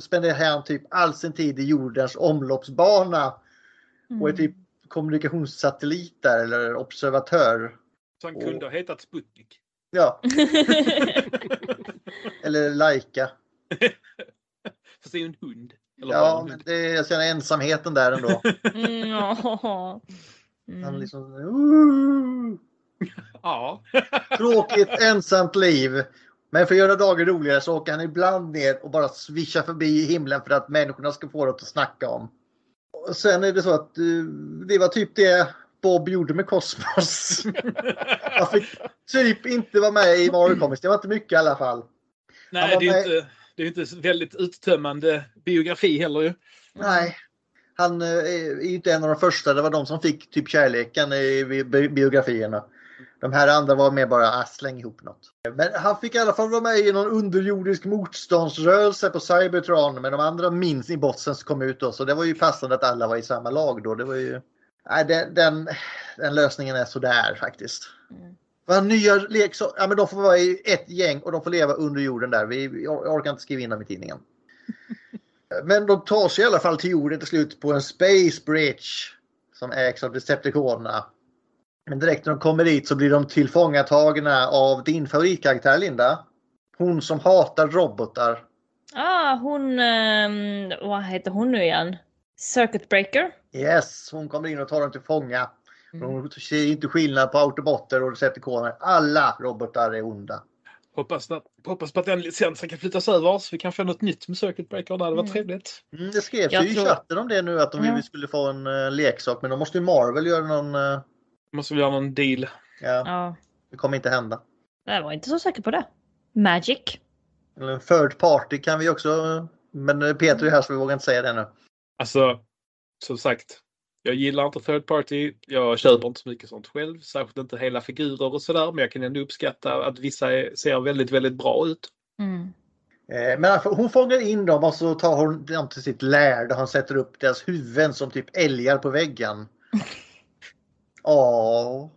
S4: spenderar han typ all sin tid i jordens omloppsbana
S1: Mm.
S4: och är typ kommunikationssatellit där eller observatör.
S6: Så han kunde ha hetat Sputnik.
S4: Ja, eller Laika.
S6: Fast det är ju en hund. Eller var
S4: Ja,
S6: en
S4: men
S6: hund.
S4: det, jag känner ensamheten där ändå.
S1: Mm, ja.
S4: Han
S1: Mm.
S4: liksom, "Ooh,
S6: Ja.
S4: tråkigt, ensamt liv. Men för att göra dagen roligare så åker han ibland ner och bara svischar förbi himlen för att människorna ska få något att snacka om. Och sen är det så att eh, det var typ det Bob gjorde med Cosmos. Han fick typ inte vara med i Mario Comics. Det var inte mycket i alla fall. Han
S6: Nej,
S4: var
S6: det är
S4: med-
S6: ju inte, det är ju inte väldigt uttömmande biografi heller ju.
S4: Nej. Han eh, är ju inte en av de första. Det var de som fick typ kärleken i bi- bi- biografierna. De här andra var mer bara ah, släng ihop något. Men han fick i alla fall vara med i någon underjordisk motståndsrörelse på Cybertron. Men de andra minns i botten som kom ut då. Så det var ju passande att alla var i samma lag då. Det var ju... Nej, den, den, den lösningen är sådär faktiskt.
S1: Mm.
S4: Vad nya leksaker. Ja, men de får vara i ett gäng och de får leva under jorden där. Vi, jag orkar inte skriva in dem i tidningen. Men de tar sig i alla fall till jorden till slut på en Space Bridge. Som ägs av Decepticonerna. Men direkt när de kommer dit så blir de tillfångatagna av din favoritkaraktär Linda. Hon som hatar robotar.
S1: Ah, hon, ehm, vad heter hon nu igen? Circuit Breaker?
S4: Yes, hon kommer in och tar dem till fånga. Men
S1: Mm.
S4: Hon ser inte skillnad på autobotter och Decepticoner. Alla robotar är onda.
S6: Hoppas, att, hoppas på att den licensen kan flyttas över så vi kan få något nytt med Circuit Breaker. Det hade varit
S1: Mm.
S6: trevligt.
S4: Mm, det skrevs
S1: Jag
S4: ju
S1: tror-
S4: i chatten om det nu att de
S1: Ja.
S4: ville skulle få en eh, leksak. Men då måste ju Marvel göra någon... eh,
S6: Måste vi göra någon deal.
S4: ja,
S1: Ja,
S4: det kommer inte hända.
S1: jag var inte så säker på det. Magic?
S4: Eller en third party kan vi också. Men eh, Peter är här så vi vågar inte säga det nu.
S6: Alltså, som sagt. Jag gillar inte third party. Jag köper inte så mycket sånt själv. Särskilt inte hela figurer och sådär. Men jag kan ändå uppskatta att vissa är, ser väldigt, väldigt bra ut.
S1: Mm.
S4: Eh, Men han- hon fångar in dem och så tar hon dem till sitt lär där hon sätter upp deras huvuden som typ älgar på väggen. Åh.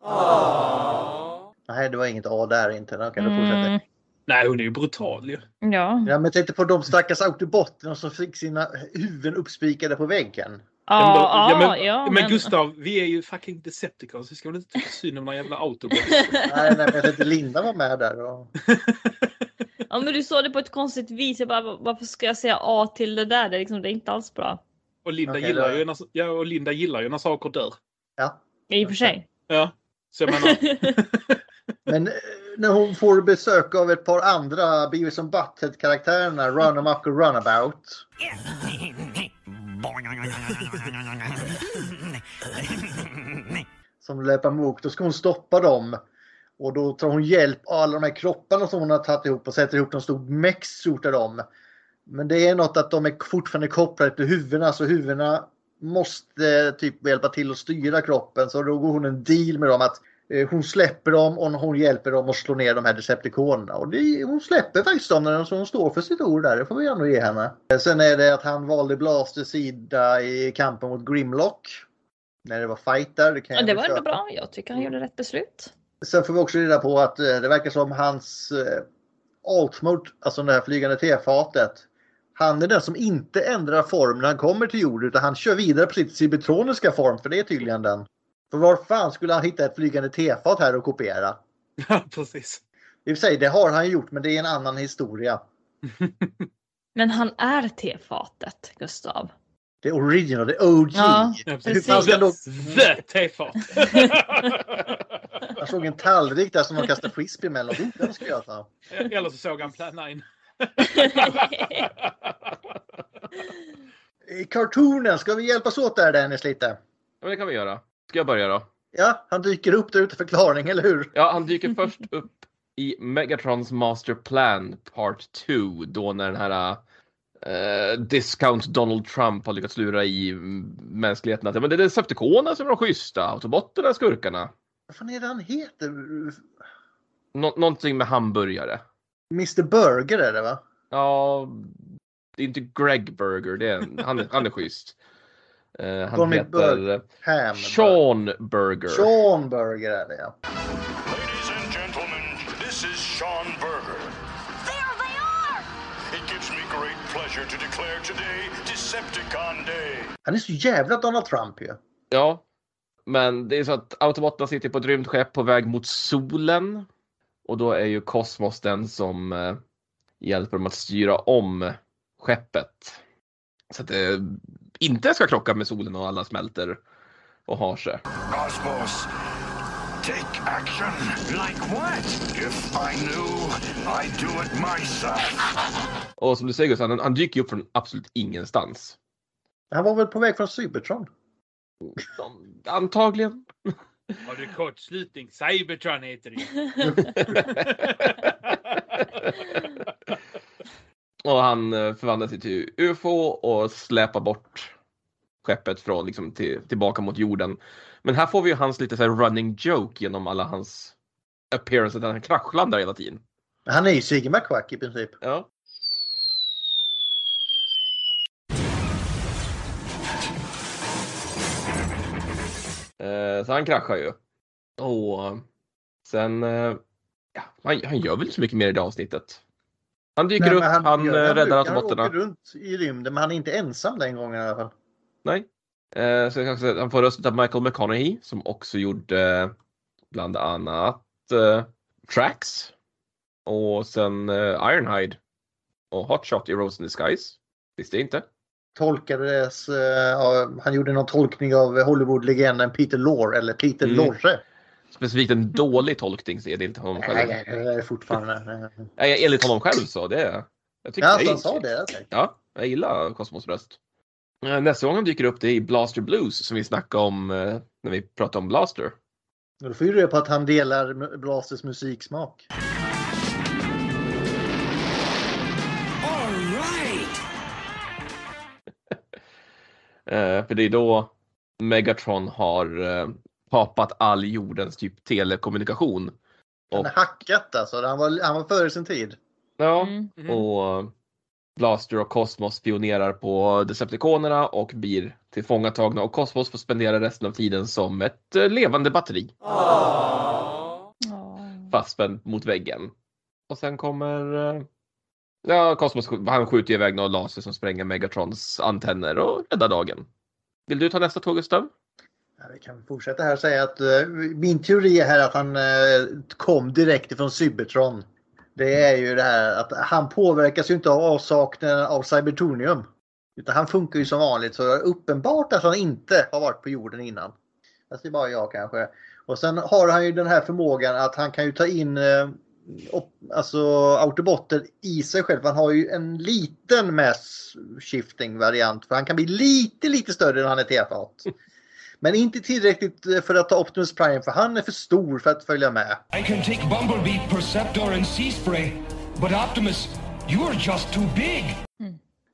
S4: Nej, det var inget A där inte. Då kan du fortsätta.
S1: Mm.
S6: Nej, hon är ju brutal ju.
S1: Ja.
S4: Ja, men tänkte på de stackars autobotterna som fick sina huvuden uppspikade på väggen.
S6: Ja, men
S1: Ja,
S6: då-
S1: ja, Ah, ja,
S6: men, Gustav, vi är ju fucking Decepticons. Vi ska väl inte tycka synd om några jävla autobots?
S4: Nej, nej, men jag tänkte Linda var med där. Och...
S1: Ja men du sa det på ett konstigt vis. Jag bara, varför ska jag säga A till det där? Det är, liksom, det är inte alls bra.
S6: Och Linda,
S4: Okej,
S6: gillar
S4: då-
S6: ju när, ja, och Linda gillar ju när saker dör.
S4: Ja.
S1: I och för sig.
S6: Ja, så jag menar,
S4: Men eh, när hon får besök av ett par andra Beavis and Butthead-karaktärerna, Run Amok och Runabout. som löper mot. Då ska hon stoppa dem. Och då tar hon hjälp av alla de här kropparna som hon har tagit ihop och sätter ihop en stor mexsort av dem. Men det är något att de är fortfarande kopplade till huvudena så huvudena måste eh, typ hjälpa till att styra kroppen. Så då går hon en deal med dem att eh, hon släpper dem och hon hjälper dem att slå ner de här Decepticonerna. Och det, hon släpper faktiskt dem när hon- så hon står för sitt ord där. Det får vi ändå ge henne. Eh, Sen är det att han valde Blasters sida i kampen mot Grimlock. När det var fight där. Det, kan
S1: Ja,
S4: jag
S1: det
S4: väl
S1: var ändå
S4: köpa.
S1: bra. Jag tycker han gjorde rätt beslut.
S4: Sen får vi också reda på att eh, det verkar som hans eh, altmode, alltså det här flygande tefatet. Han är den som inte ändrar form när han kommer till jorden utan han kör vidare på sitt cybertroniska form för det är tydligen den. För var fan skulle han hitta ett flygande tefat här och kopiera?
S6: ja, precis.
S4: I och för sig, det har han gjort men det är en annan historia.
S1: Men han är tefatet, Gustav.
S4: Det är original, det är OG.
S1: Ja.
S6: Ja,
S4: Hur
S6: precis. Alltså,
S4: fan ska då...
S6: The tefat!
S4: Jag såg en tallrik där som de kastade frisbee mellan. Oh, Den ska jag ta.
S6: Eller så såg han Plan 9.
S4: I kartonen, ska vi hjälpas åt där Dennis lite?
S5: Ja, men det kan vi göra. Ska jag börja då?
S4: Ja, han dyker upp där ute förklaring, eller hur?
S5: Ja, han dyker först upp i Megatrons Master Plan Part 2 då när den här eh, Discount Donald Trump har lyckats lura i mänskligheten att ja, men det är Decepticonerna som är de schyssta, Autobotterna är skurkarna.
S4: Vad fan är det han heter?
S5: Nå- någonting med hamburgare.
S4: Mr Burger är det va?
S5: Ja, det är inte Greg Burger, det är, en- han, är- han är schysst. Eh, han
S4: Tommy
S5: heter
S4: Burger.
S5: eh,
S4: Ham.
S5: Sean Burger.
S4: Sean Burger är det ja.
S2: Ladies and gentlemen, this is Sean Berger.
S3: There they are!
S2: It gives me great pleasure to declare today Decepticon Day.
S4: Han är så jävla Donald Trump ju.
S5: Ja, men det är så att Autobotarna sitter på ett rymdskepp på väg mot solen. Och då är ju Kosmos den som eh, hjälper dem att styra om skeppet. Så att det inte ska krocka med solen och alla smälter och har sig.
S2: Cosmos, take action. Like what? If I knew, I'd do it myself.
S5: Och som du säger Gustav, han, han dyker ju upp från absolut ingenstans.
S4: Han var väl på väg från Cybertron?
S5: De- Antagligen.
S6: Har du kortslutning? Cybertron heter det
S5: och han eh, förvandlar sig till UFO och släpar bort skeppet från, liksom, till, tillbaka mot jorden. Men här får vi ju hans lite så här running joke genom alla hans appearances där han kraschlandar hela tiden.
S4: Han är ju Sigge McQuack i princip.
S5: Ja. Eh, Så han kraschar ju. Och sen, eh, ja, han, han gör väl inte så mycket mer i det avsnittet. Han dyker
S4: Nej,
S5: upp,
S4: men
S5: han,
S4: gör-
S5: eh, räddar
S4: brukar- Han åker
S5: autobotterna.
S4: runt i rymden men han är inte ensam den gången i alla fall.
S5: Nej. Eh, så jag kan säga, att han får rösten av Michael McConaughey som också gjorde eh, bland annat eh, Tracks och sen eh, Ironhide och Hot Shot i Rose in Disguise. Visste jag inte.
S4: Tolkades, eh, ja, han gjorde någon tolkning av Hollywood-legenden Peter Lorre eller Peter
S5: Mm.
S4: Lorre.
S5: Specifikt en dålig tolkning så är det inte honom
S4: Nej,
S5: själv.
S4: nej, nej, fortfarande.
S5: Nej, enligt honom själv så. Det, jag tycker
S4: Ja,
S5: det är-
S4: han sa det. alltså. okej.
S5: Ja, jag gillar Kosmos röst. Eh, Nästa gång han dyker upp det är i Blaster Blues som vi snackade om eh, när vi pratade om Blaster.
S4: Då får ju reda på att han delar mu- Blasters musiksmak.
S7: All right.
S5: Eh, För det är då Megatron har eh, kapat all jordens typ telekommunikation.
S4: Han
S5: Och-
S4: är hackat alltså. Han var, han var före sin tid.
S5: Ja,
S1: Mm.
S5: och Blaster och Cosmos spionerar på Decepticonerna och blir tillfångatagna och Cosmos får spendera resten av tiden som ett eh, levande batteri.
S1: Ja.
S5: fastspänd mot väggen. Och sen kommer... eh, Ja, Cosmos sk- han skjuter iväg några laser som spränger Megatrons antenner och räddar dagen. Vill du ta nästa tåg Gustav?
S4: Ja, Vi kan fortsätta här och säga att eh, min teori är här att han eh, kom direkt ifrån Cybertron. Det är ju det här att han påverkas ju inte av avsaknaden av Cybertonium. Utan han funkar ju som vanligt så det är uppenbart att han inte har varit på jorden innan. Fast det är bara jag kanske. Och sen har han ju den här förmågan att han kan ju ta in eh, op- alltså autobotter i sig själv. Han har ju en liten mass shifting variant för han kan bli lite lite större när han är tefat. Men inte tillräckligt eh, för att ta Optimus Prime för han är för stor för att följa med.
S2: I can take Bumblebee, Perceptor, and Sea Spray, but Optimus, you're just too big.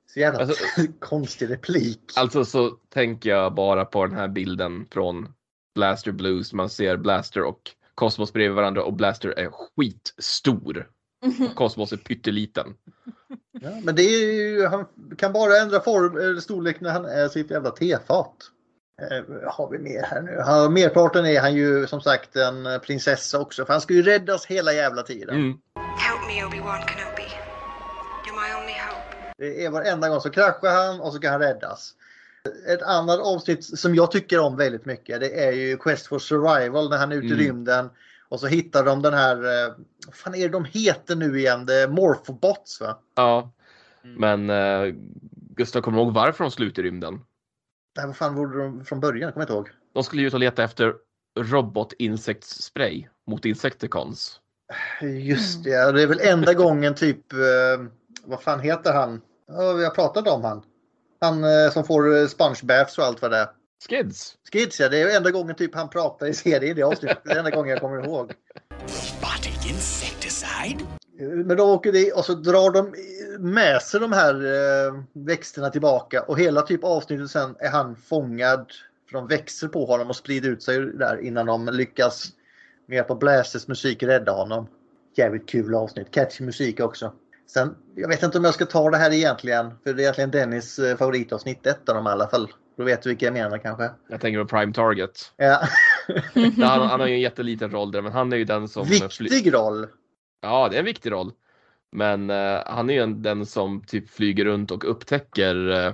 S4: Så jävla
S5: Alltså-
S4: konstig replik.
S5: Alltså så tänker jag bara på den här bilden från Blaster Blues. Man ser Blaster och Cosmos bredvid varandra och Blaster är skitstor. Och Cosmos är pytteliten.
S4: Ja, men det är ju, han kan bara ändra form eller storlek när han är sitt jävla tefat. Eh, har vi mer här nu? Han, merparten är han ju som sagt en eh, prinsessa också för han ska ju räddas hela jävla tiden.
S5: Mm.
S11: Help me, Obi-Wan Kenobi. You're my only hope.
S4: Det är varenda gång så kraschar han och så kan han räddas. Ett annat avsnitt som jag tycker om väldigt mycket det är ju Quest for Survival när han är ute i
S5: Mm.
S4: rymden. Och så hittar de den här, eh, vad fan är det de heter nu igen? Det är Morphobots va?
S5: Ja, men eh, Gustav kommer du ihåg varför de sluter i rymden?
S4: Det här, vad fan vore de från början? Jag kommer inte ihåg.
S5: De skulle ju ut och leta efter robotinsektsspray mot Insecticons.
S4: Just det, ja, det är väl enda gången typ, eh, vad fan heter han? Ja, vi har pratat om han. Han eh, som får eh, spongebaths och allt vad det är.
S5: Skids!
S4: Skids ja, det är enda gången typ han pratar i serien i det avsnittet. Det är enda gången jag kommer ihåg.
S2: Spotted
S12: Insecticide?
S4: Men de åker dit och så drar de med sig de här eh, växterna tillbaka och hela typ avsnittet sen är han fångad. För de växer på honom och sprider ut sig där innan de lyckas med hjälp av Blazers musik rädda honom. Jävligt kul avsnitt. Catchy musik också. Sen, jag vet inte om jag ska ta det här egentligen. För det är egentligen Dennis eh, favoritavsnitt ett av dem i alla fall. Då vet du vilka jag menar kanske.
S5: Jag tänker på Prime Target.
S4: Ja.
S5: Där han, han har ju en jätteliten roll där, men han är ju den som...
S4: Viktig roll!
S5: Ja, det är en viktig roll. Men eh, han är ju en, den som typ flyger runt och upptäcker eh,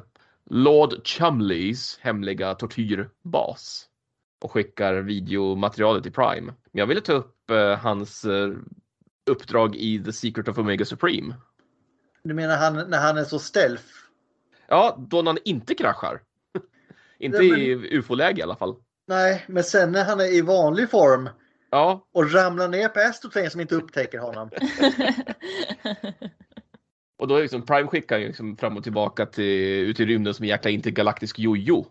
S5: Lord Chumleys hemliga tortyrbas. Och skickar videomaterialet till Prime. Men jag ville ta upp eh, hans eh, uppdrag i The Secret of Omega Supreme.
S4: Du menar han, när han är så stealth?
S5: Ja, då när han inte kraschar. inte
S4: Ja, men-
S5: i ufo-läge i alla fall.
S4: Nej, men sen när han är i vanlig form
S5: Ja.
S4: och ramlar ner på Astrotrain som inte upptäcker honom.
S5: Och då är liksom Prime skickar ju liksom fram och tillbaka till, ut i rymden som en jäkla intergalaktisk jojo.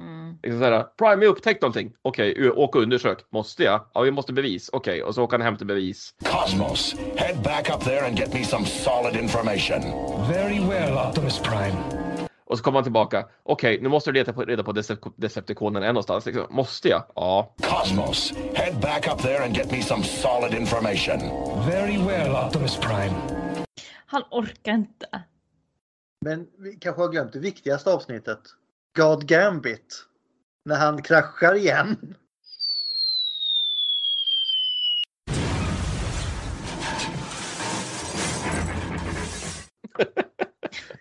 S6: Mm.
S5: Liksom så här, Prime, jag har upptäckt någonting. Okej, u- åk och undersök. Måste jag? Ja, vi måste bevis. Okej, och så åker han hem till bevis.
S2: Cosmos, head back up there and get me some solid information.
S13: Very well, Optimus Prime.
S5: Och så kommer han tillbaka. Okej, nu måste du leta på, reda på Decep- Decepticonen är någonstans. Liksom, måste jag? Ja.
S2: Cosmos, head back up there and get me some solid information.
S13: Very well, Optimus Prime.
S1: Han orkar inte.
S4: Men vi kanske har glömt det viktigaste avsnittet. God Gambit. När han kraschar igen.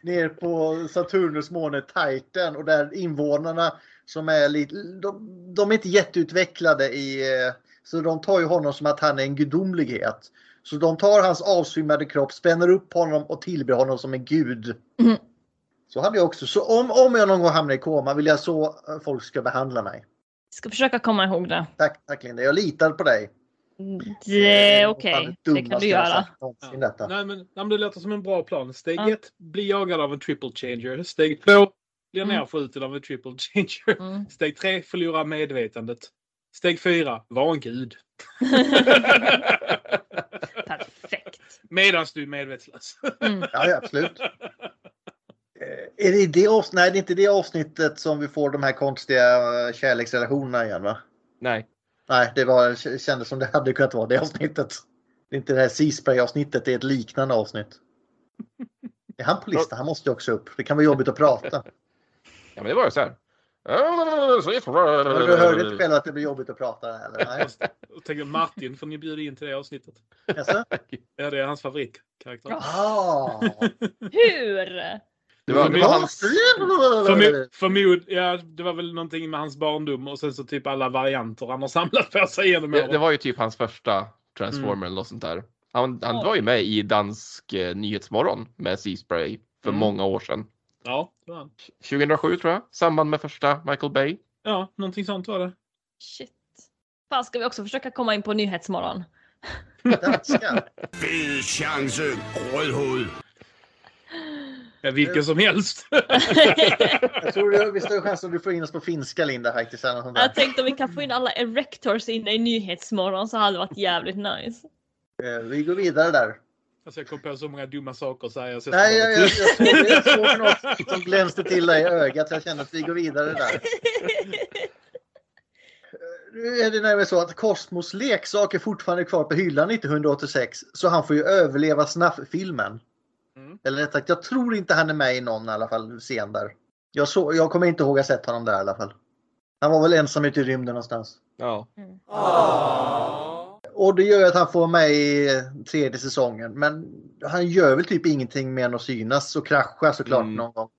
S4: Ner på Saturnus måne Titan och där invånarna som är lite, de, de är inte jätteutvecklade i, eh, så de tar ju honom som att han är en gudomlighet. Så de tar hans avsvimmade kropp, spänner upp honom och tillber honom som en gud. Så hade jag också. Så om, om jag någon gång hamnar i koma vill jag så eh, folk ska behandla mig.
S1: Ska försöka komma ihåg det.
S4: Tack, tack Linda. Jag litar på dig. Eh,
S1: Det är okej, det kan
S4: dummaste
S1: du
S4: jag har
S1: göra.
S4: sagt någonsin, detta.
S6: Nej, men, nej, men det låter som en bra plan. Steg
S1: Ja.
S6: ett, bli jagad av en triple changer. Steg två, bli nerskjuten av en triple changer. Steg tre, förlora medvetandet. Steg fyra, var en gud.
S1: Perfekt. Mm.
S6: Medan du är medvetslös.
S4: Ja, ja, absolut. Eh, Är det i det avsnittet? Nej, det är inte i det avsnittet som vi får de här konstiga eh, kärleksrelationerna igen va?
S5: Nej.
S4: Nej, det var, k- kändes som det hade kunnat vara det avsnittet. Det är inte det här Seaspray avsnittet, det är ett liknande avsnitt. Är han på listan? Han måste ju också upp. Det kan vara jobbigt att prata.
S5: Ja, men det var ju så här.
S4: Men Du hörde inte själv att det blir jobbigt att prata eller? Nej.
S6: Jag tänker Martin, får ni bjuda in till det avsnittet?
S4: Jaså?
S6: Ja, det är hans favoritkaraktär.
S4: Ah.
S1: Hur?
S5: Det var- det var hans-
S6: Förmo- förmod, ja, det var väl någonting med hans barndom och sen så typ alla varianter han har samlat på sig genom
S5: Det,
S6: åren.
S5: det var ju typ hans första Transformer
S6: Mm.
S5: eller något sånt där. Han, han var ju med i Dansk eh, Nyhetsmorgon med Seaspray för
S6: Mm.
S5: många år sedan.
S6: Ja, det var han.
S5: 2007 tror jag, samband med första Michael Bay.
S6: ja, någonting sånt var det.
S1: Shit. Fan, ska vi också försöka komma in på Nyhetsmorgon?
S2: Bill Chance, rødhoved.
S6: Ja,
S4: Eh.
S6: vilken som helst.
S4: Jag tror det är visst är chans att du får in oss på finska Linda faktiskt. Eller något sånt där.
S1: Jag tänkte om vi kan få in alla erectors inne i Nyhetsmorgon så hade det varit jävligt nice.
S4: Eh, Vi går vidare där.
S6: Alltså, jag kom på så många dumma saker att säga. Så jag ska
S4: Nej, jag,
S6: bara-
S4: jag, jag, såg, jag såg något som glänste till dig i ögat. Jag kände att vi går vidare där. Nu är det nämligen så att Cosmos leksak är fortfarande kvar på hyllan 1986 så han får ju överleva Snaff-filmen. Eller rätt sagt, jag tror inte han är med i någon i alla fall scen där. Jag, såg, jag kommer inte ihåg att ha sett honom där i alla fall. Han var väl ensam ute i rymden någonstans.
S5: Ja.
S4: Och det gör ju att han får med i tredje säsongen. Men han gör väl typ ingenting mer än att synas och krascha såklart någon gång.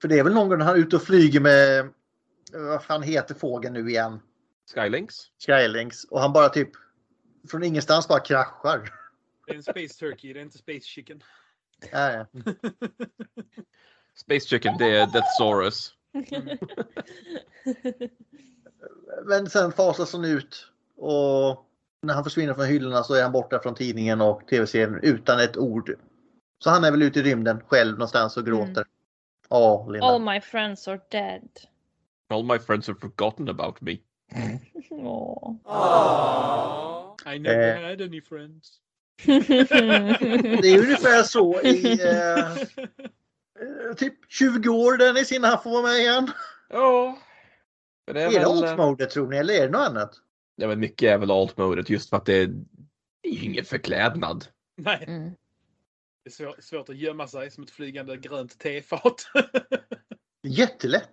S4: För det är väl någon gång han är ute och flyger med, eh, vad fan heter fågeln nu igen?
S5: Skylinks.
S4: Skylinks. Och han bara typ, från ingenstans bara kraschar.
S6: Det är en Space Turkey, det är inte Space Chicken.
S4: Ja, ja.
S5: Space Chicken, det är Deathsaurus.
S4: Men sen fasas han ut och när han försvinner från hyllorna så är han borta från tidningen och tv-serien utan ett ord. Så han är väl ute i rymden själv någonstans och gråter. Ja, Linda.
S1: All my friends are dead.
S5: All my friends have forgotten about me.
S1: Åh.
S6: I
S4: Eh.
S6: never had any friends.
S4: Det är ungefär så i eh, eh, typ 20 år Dennis innan han får vara med igen.
S5: Ja. Men det
S4: Är
S5: är
S4: det
S5: väl-
S4: altmodet tror ni eller är det något annat?
S5: Ja, men mycket är väl alt-modet just för att det är, det är ju ingen förklädnad.
S6: Nej.
S4: Mm.
S6: Det är svår, svårt att gömma sig som ett flygande grönt tefat.
S4: Jättelätt.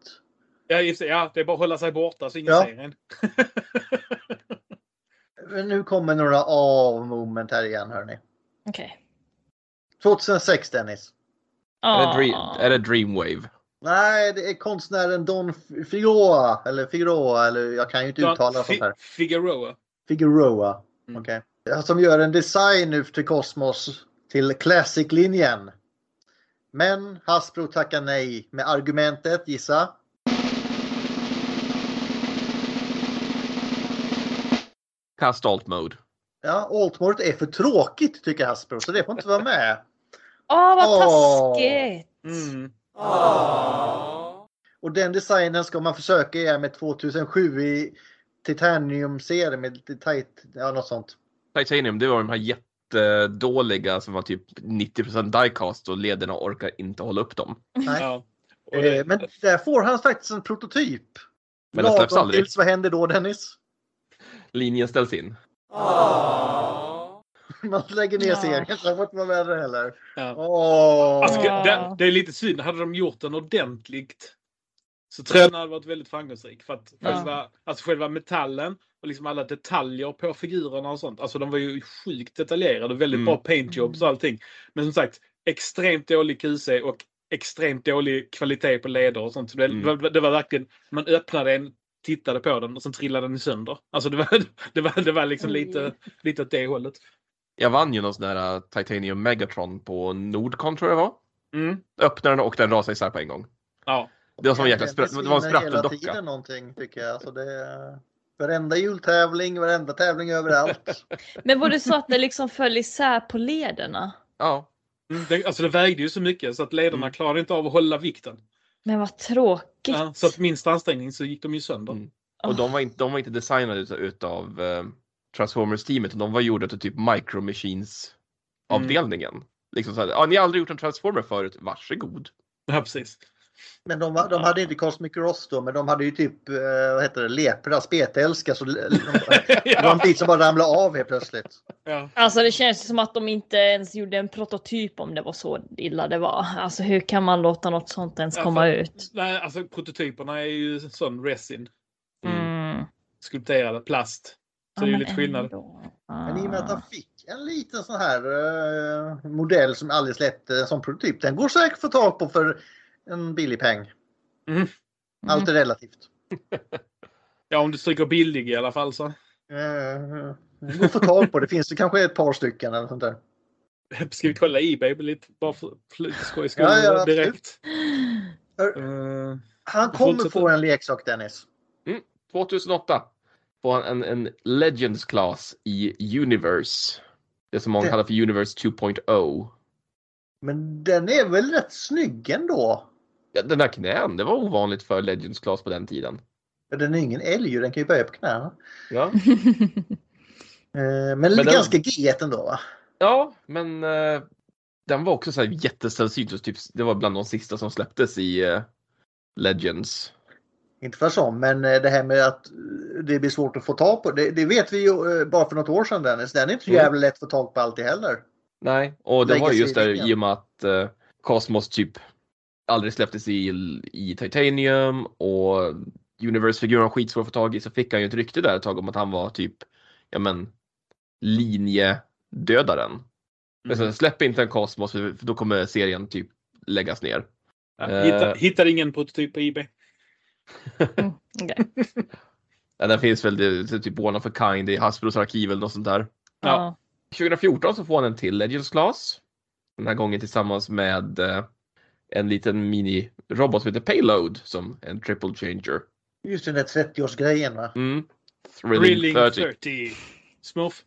S6: ja, i och för sig, ja, det är bara att hålla sig borta så ingen
S4: Ja.
S6: ser en.
S4: Men Nu kommer några av-moment här igen hörni.
S1: Okej.
S4: 2006 Dennis.
S5: Är,
S1: Ah.
S5: det dream, är det Dreamwave?
S4: Nej, det är konstnären Don F- Figueroa. Eller Figueroa, eller jag kan ju inte uttala sånt här.
S6: Fi- Figueroa.
S4: Figueroa. Okej. Som gör en design nu till Cosmos till Classic-linjen. Men Hasbro tackar nej med argumentet, gissa.
S5: Kast alt-mode.
S4: Ja, Altmort är för tråkigt tycker Hasbro, så det får inte vara med.
S1: Åh, Ah, vad
S4: Åh.
S1: taskigt!
S6: Mm.
S4: Och den designen ska man försöka göra med 2007 i titaniumserien med lite tight, ja något sånt.
S5: Titanium, det var de här jättedåliga som var typ 90% diecast och lederna orkar inte hålla upp dem.
S4: Nej.
S6: Ja.
S4: Eh, Men där får han faktiskt en prototyp.
S5: Men den släpps
S4: Lagom
S5: aldrig.
S4: tills, Vad händer då Dennis?
S5: Linjen ställs in.
S4: Man lägger ner
S6: Ja.
S4: serien, så får inte vara med där heller.
S6: Ja.
S4: Åh.
S6: Alltså, det, det är lite synd. Hade de gjort den ordentligt så tror jag den hade varit väldigt framgångsrik. För att
S4: Ja.
S6: själva, alltså själva metallen och liksom alla detaljer på figurerna och sånt. Alltså de var ju sjukt detaljerade. Väldigt bra paintjobs och allting. Men som sagt, extremt dålig QC och extremt dålig kvalitet på leder och sånt. Så det, det, det var verkligen, man öppnade en, tittade på den och sen trillade den sönder. Alltså det var, det var, det var liksom lite, lite åt det hållet.
S5: Jag vann ju någon sån där eh, Titanium Megatron på Nordcon tror jag det var.
S6: Mm.
S5: Öppnade den och den rasade isär på en gång.
S6: Ja.
S5: Det var som en jäkla
S4: Dennis
S5: sprätt, det var en
S4: vinner
S5: sprättad
S4: hela
S5: docka.
S4: tiden någonting tycker jag. Alltså det är... Varenda jultävling, varenda tävling överallt.
S1: Men var det så att det liksom föll isär på lederna?
S5: Ja.
S6: Mm, det, alltså det vägde ju så mycket så att lederna
S5: Mm.
S6: klarade inte av att hålla vikten.
S1: Men vad tråkigt.
S6: Ja, så att minsta ansträngning så gick de ju sönder.
S5: Mm. Och de var inte, de var inte designade ut- utav eh, Transformers-teamet, utan de var gjorda till typ Micro Mm. Machines-avdelningen. Liksom så här, ah, ni har aldrig gjort en Transformer förut, varsågod.
S6: Ja, precis.
S4: Men de, var- de hade inte Cosmic Ross då, men de hade ju typ eh, vad heter det, lepra, spetälska. Så de, det var en bit som bara ramlade av helt plötsligt.
S1: Alltså det känns som att de inte ens gjorde en prototyp om det var så illa det var. Alltså hur kan man låta något sånt ens komma
S6: Alltså,
S1: ut?
S6: Nej, alltså prototyperna är ju sån resin.
S1: Mm.
S6: Skulpterade plast. Så
S4: Ja,
S6: det är ju
S4: men
S6: lite skillnad.
S4: Men i och med
S1: Ah.
S4: att han fick en liten sån här eh, modell som aldrig släppte, en sån prototyp, den går säkert att få tag på för en billig peng. Allt är relativt.
S6: Ja, om du stryker billig i alla fall så.
S4: Eh, Det går att få tag på, det finns det kanske ett par stycken eller sånt där.
S6: Ska vi kolla Ebay lite bara för, för lite skojs skull
S4: Ja, ja, absolut.
S6: direkt?
S1: Ah.
S6: Eh,
S4: Han kommer få en leksak Dennis.
S5: Mm, 2008 får han en, en Legends class i Universe. Det som många
S4: Det-
S5: kallar för Universe oh. 2.0.
S4: Men den är väl rätt snygg ändå?
S5: Ja, den där knän, det var ovanligt för Legends class på den tiden.
S4: Ja, Den är ingen älg, den kan ju böja på knäna.
S5: Ja,
S4: Eh, Men,
S5: den-
S4: ganska get ändå va?
S5: ja men eh, den var också så här jättesällsynt. och Typ, det var bland de sista som släpptes i eh, Legends.
S4: Inte för som, men eh, det här med att eh, det blir svårt att få tag på. Det, det vet vi ju eh, bara för något år sedan Dennis. Den är inte så
S5: Mm.
S4: jävla lätt att få tag på alltid heller.
S5: Nej, och det var ju
S4: Legacy
S5: just där
S4: Edition.
S5: i och med att eh, Cosmos typ aldrig släpptes i, i Titanium och Universe-figuren var skitsvår att få tag i så fick han ju ett rykte där ett tag om att han var typ, ja men, linjedödaren. Men
S6: Mm.
S5: sen släpp inte en Cosmos för för då kommer serien typ läggas ner.
S6: ja,
S5: Eh,
S6: hitta, hittar ingen prototyp på Ebay.
S5: ja, den finns väl det, det är typ One of a Kind i Hasbros arkiv eller något sånt där.
S6: Ja.
S5: 2014 så får han en till Legends Class. Den här gången tillsammans med eh, en liten mini-robot som heter Payload som en triple changer.
S4: Just den där 30-årsgrejen va?
S5: Mm. Thrilling,
S6: Thrilling
S5: 30.
S6: 30. Smurf.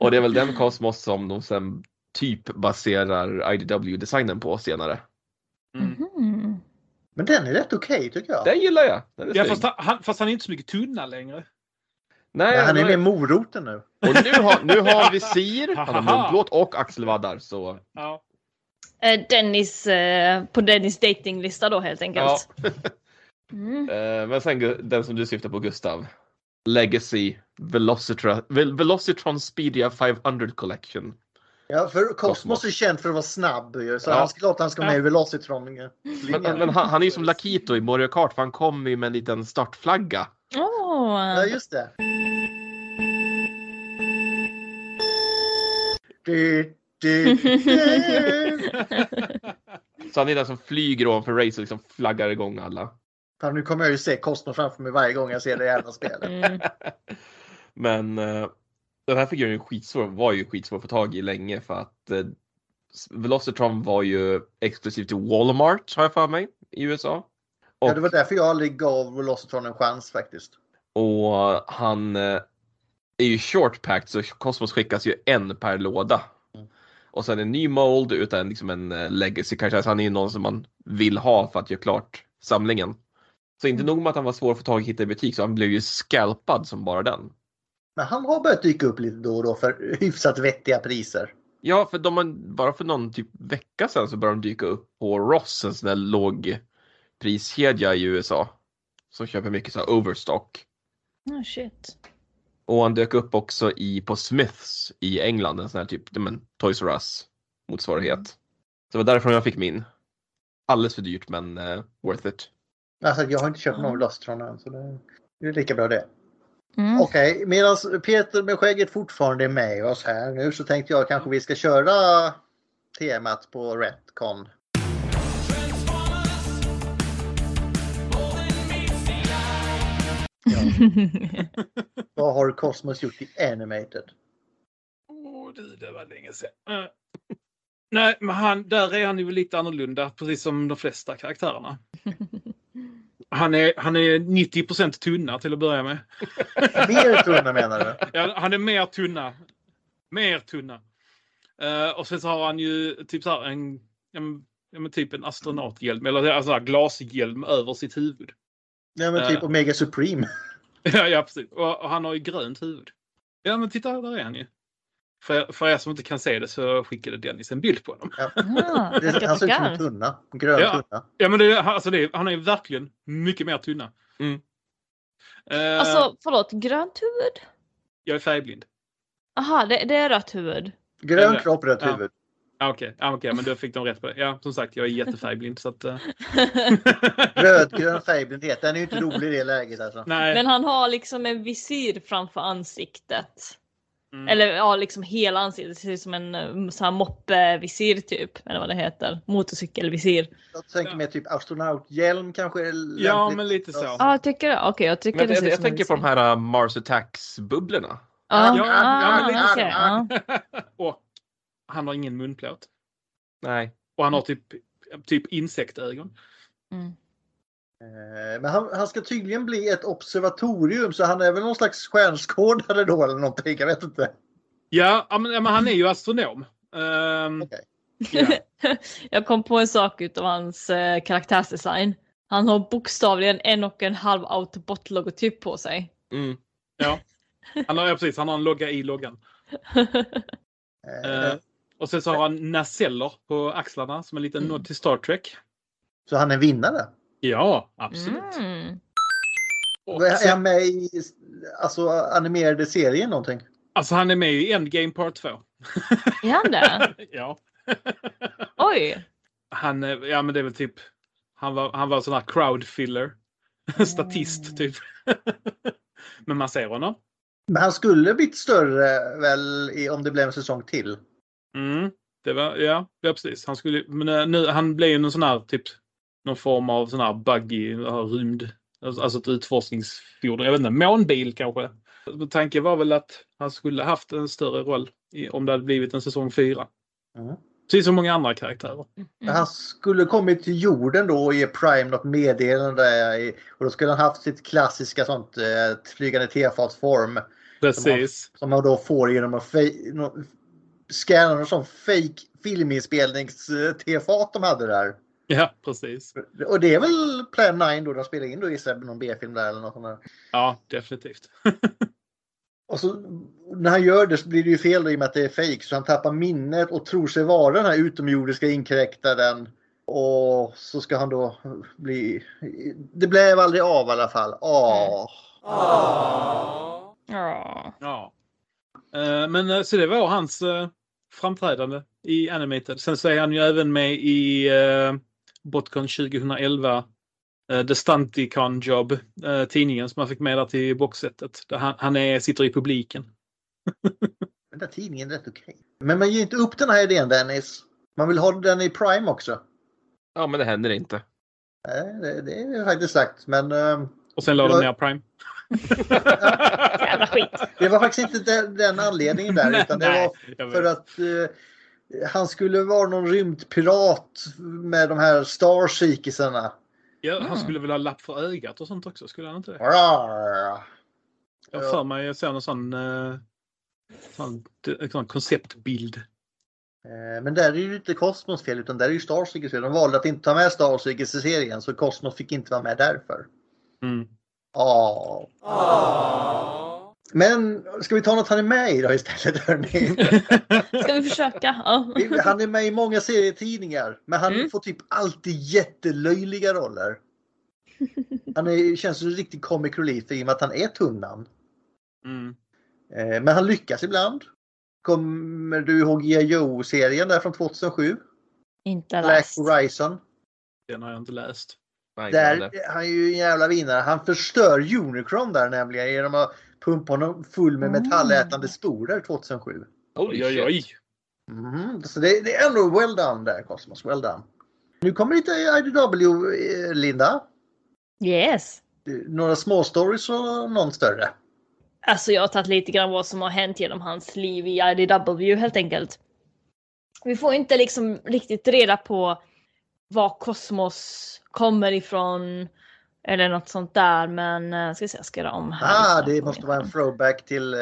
S5: Och det är väl den Cosmos som de sen
S6: Mm.
S5: typ baserar IDW-designen på senare.
S4: Men den är rätt okej tycker jag.
S5: Den gillar jag. Den är
S6: Ja,
S5: snygg.
S6: fast, han- han, fast han är inte så mycket tunna längre.
S5: Nej,
S4: Men han är
S5: nej.
S4: med moroten nu.
S5: Och nu har, nu har han visir, han har
S6: Ahaha.
S5: munplåt och axelvaddar. Så
S6: Ja.
S1: Eh, Dennis, eh, på Dennis datinglista då helt enkelt.
S5: ja.
S1: Mm.
S5: Eh, Men sen gu- den som du syftar på Gustav. Legacy Velocitra, Vel- Velocitron-Speedia 500 Collection.
S4: Ja, för
S5: Cosmos.
S4: Cosmos är känd för att vara snabb ju, så
S5: Ja.
S4: han ska klart han ska med i
S6: Ja.
S4: Velocitron. ju.
S5: Men, men han, han är ju som Lakito i Mario Kart för han kommer ju med en liten startflagga.
S1: Åh.
S4: Ja, just det. Du, du, du.
S5: Så han är den som flyger ovanför race och liksom flaggar igång alla.
S4: Fan, nu kommer jag ju se Cosmos framför mig varje gång jag ser det jävla spelet.
S1: Mm.
S5: Men eh, den här figuren är skitsvår, var ju skitsvår att få tag i länge för att eh, Velocitron var ju exklusiv till Walmart har jag för mig i USA. Och,
S4: Ja, det var därför jag aldrig gav Velocitron en chans faktiskt.
S5: och han eh, är ju short packed så Cosmos skickas ju en per låda. Och sen en ny mold utan liksom en eh, legacy kanske, alltså han är ju någon som man vill ha för att göra klart samlingen. Så inte nog med att han var svår att få tag i och hitta i butik så han blev ju scalpad som bara den.
S4: Men han har börjat dyka upp lite då och då för hyfsat vettiga priser.
S5: Ja, för de har, bara för någon typ vecka sedan så började de dyka upp på Ross, en sån där lågpriskedja i USA. Som köper mycket så här overstock.
S1: Oh, shit.
S5: Och han dök upp också i, på Smiths i England, en sån här typ ja, men, Toys R Us
S1: Mm.
S5: motsvarighet. Så det var därifrån jag fick min. Alldeles för dyrt men eh, worth it.
S4: Alltså, jag har inte köpt någon Velocitron än så det det är lika bra det.
S1: Mm.
S4: Okej, medan Peter med skägget fortfarande är med oss här nu så tänkte jag kanske vi ska köra temat på Retcon. Vad har Cosmos gjort i Animated?
S6: Åh du, det var länge sedan. Eh. Nej, men han, där är han ju lite annorlunda, precis som de flesta karaktärerna. Han är, han är 90 tunna till att börja med.
S4: Mer tunna menar du?
S6: Ja, han är mer tunna. Mer tunna. Eh, och sen så har han ju typ så här en, en, ja, men typ en astronauthjälm, eller alltså en glashjälm över sitt huvud.
S4: Nej men typ
S6: Eh.
S4: Omega Supreme.
S6: Ja, ja precis. Och, och han har ju grönt huvud. Ja, men titta, där är han ju. För, för er som inte kan se det så skickade Dennis en bild på honom.
S1: Ah,
S4: Det,
S1: tackar,
S4: han ser ut som
S1: tackar.
S4: en Alltså, tunna. en Grön
S6: Ja.
S4: tunna.
S6: Ja, men det, är- alltså det, är- han är ju verkligen mycket mer tunna.
S5: Mm.
S6: Eh,
S1: Alltså förlåt, grönt huvud?
S6: Jag är färgblind.
S1: Aha, det, det är rött huvud.
S4: Grön
S6: Eller-
S4: kropp, rött
S6: Ja.
S4: huvud.
S6: Ah, Okej, ah, okej, men då fick de rätt på det. Ja, som sagt, jag är jättefärgblind. Så att, eh.
S4: Rödgrön färgblindhet. Den är ju inte rolig i det läget alltså.
S6: Nej.
S1: Men han har liksom en visir framför ansiktet.
S6: Mm.
S1: Eller ja, liksom hela ansiktet. Det ser ut som en eh, sån här moppevisir typ. Eller vad det heter. Motorcykelvisir.
S4: Jag tänker mer typ astronauthjälm kanske. är
S6: Ja,
S4: lämpligt.
S6: men lite så.
S1: Ja, jag tycker det. Okej, jag tycker
S5: Men
S1: det
S5: jag,
S1: ser
S5: jag,
S1: ut som en
S5: tänker på de
S1: visir.
S5: här eh, Mars Attacks-bubblorna.
S1: Ja,
S6: Ja, ja,
S1: ah,
S6: men lite
S1: okej,
S4: så.
S1: ja.
S6: och han har ingen munplåt.
S5: Nej.
S6: Och han har typ, typ insektögon.
S1: Mm.
S4: Eh, Men han, han ska tydligen bli ett observatorium så han är väl någon slags stjärnskådare då eller någonting. Jag vet inte.
S6: Ja, ja, men, ja, men han är ju astronom. Ehm,
S4: Okej.
S6: ja.
S1: Jag kom på en sak utav hans eh, karaktärsdesign. Han har bokstavligen en och en halv Autobot-logotyp på sig.
S5: Mm.
S6: han, har, ja, precis, han har en logga i loggan.
S4: Eh,
S6: Eh, och sen så har han naseller på axlarna som en liten
S1: Mm.
S6: nod till Star Trek.
S4: Så han är vinnare.
S6: Ja, absolut.
S1: Mm.
S6: Och
S4: Är
S6: sen,
S4: han med i alltså, animerade serien någonting?
S6: alltså han är med i Endgame Part 2.
S1: Är han det?
S6: ja.
S1: Oj!
S6: han, eh, ja men det är väl typ, han var, han var sån här crowd filler. Statist typ. men man ser honom.
S4: Men han skulle blivit större väl i, om det blev en säsong till?
S6: Mm, det var, ja, ja precis. Han, skulle, men eh, nu, han blev ju någon sån här typ någon form av sån här buggy, den här rymd, alltså alltså ett utforskningsfordon. Jag vet inte, månbil kanske. Tanken var väl att han skulle haft en större roll i, om det hade blivit en säsong fyra.
S4: Mm.
S6: Precis som många andra karaktärer.
S1: Mm.
S4: Han skulle kommit till jorden då och ge Prime något meddelande. i- Och då skulle han haft sitt klassiska sånt eh, flygande tefatsform.
S6: Precis.
S4: Som man då får genom att fej- eh, nå- scanna någon sån fake filminspelnings-tefat de hade där.
S6: Ja, precis.
S4: Och det är väl Plan 9 då de spelar in då gissar jag, någon B-film där eller något sånt där.
S6: Ja, definitivt.
S4: Och så när han gör det så blir det ju fel då, i och med att det är fake så han tappar minnet och tror sig vara den här utomjordiska inkräktaren. Och så ska han då bli... Det blev aldrig av i alla fall. Ah.
S1: Ja.
S6: Ja. Eh, Men eh, så det var hans eh, framträdande i Animated. Sen så är han ju även med i eh, Botcon 2011. eh, The Stunticon Job, eh, tidningen som han fick med där till boxsetet. Där han, han är, sitter i publiken.
S4: Den där tidningen är rätt okej. Men man ger inte upp den här idén Dennis. Man vill ha den i Prime också.
S5: Ja, men det händer inte.
S4: Nej, det, det är faktiskt sagt. Men ehm,
S6: Och sen la
S4: Det
S6: de
S4: var-
S6: ner Prime.
S1: Jävla skit.
S4: det var faktiskt inte den, den anledningen där. Utan det
S6: Nej,
S4: var
S6: jag vet.
S4: för att eh, han skulle vara någon rymdpirat med de här Starseekersarna.
S6: Ja,
S1: Mm.
S6: Han skulle väl ha lapp för ögat och sånt också, skulle han inte det?
S4: Rar.
S6: Jag
S4: Ja.
S6: har för mig jag såg någon sån, eh, sån, en sån konceptbild.
S4: Eh, Men där är ju inte Cosmos fel utan där är ju Starseekers fel. De valde att inte ta med Starseekers i serien så Cosmos fick inte vara med därför.
S6: Mm.
S4: Ja. Men ska vi ta något han är med i då istället hörni?
S1: Ska vi försöka? Ja.
S4: Vi- Han är med i många serietidningar men han
S1: Mm.
S4: får typ alltid jättelöjliga roller. Han är, känns som en riktig comic relief i och med att han är tunnan.
S6: Mm.
S4: Eh, Men han lyckas ibland. Kommer du ihåg G.I. serien där från 2007?
S1: Inte
S4: Black
S1: läst.
S4: Horizon.
S6: Den har jag inte läst.
S5: Nej, inte
S4: Där,
S5: heller.
S4: han är ju en jävla vinnare. Han förstör Unicron där nämligen genom att pumpa honom full med
S1: Mm.
S4: metallätande sporer 2007.
S5: Holy
S6: Oj, oj, oj.
S5: shit.
S4: Mhm, Så det, det är ändå well done där Cosmos. Well done. Nu kommer lite IDW eh, Linda.
S1: Yes.
S4: Du, Några små stories och någon större.
S1: Alltså jag har tagit lite grann vad som har hänt genom hans liv i IDW helt enkelt. Vi får inte liksom riktigt reda på var Kosmos kommer ifrån eller något sånt där men eh, ska vi se, jag ska göra om här.
S4: Ah, det måste vara en throwback till eh,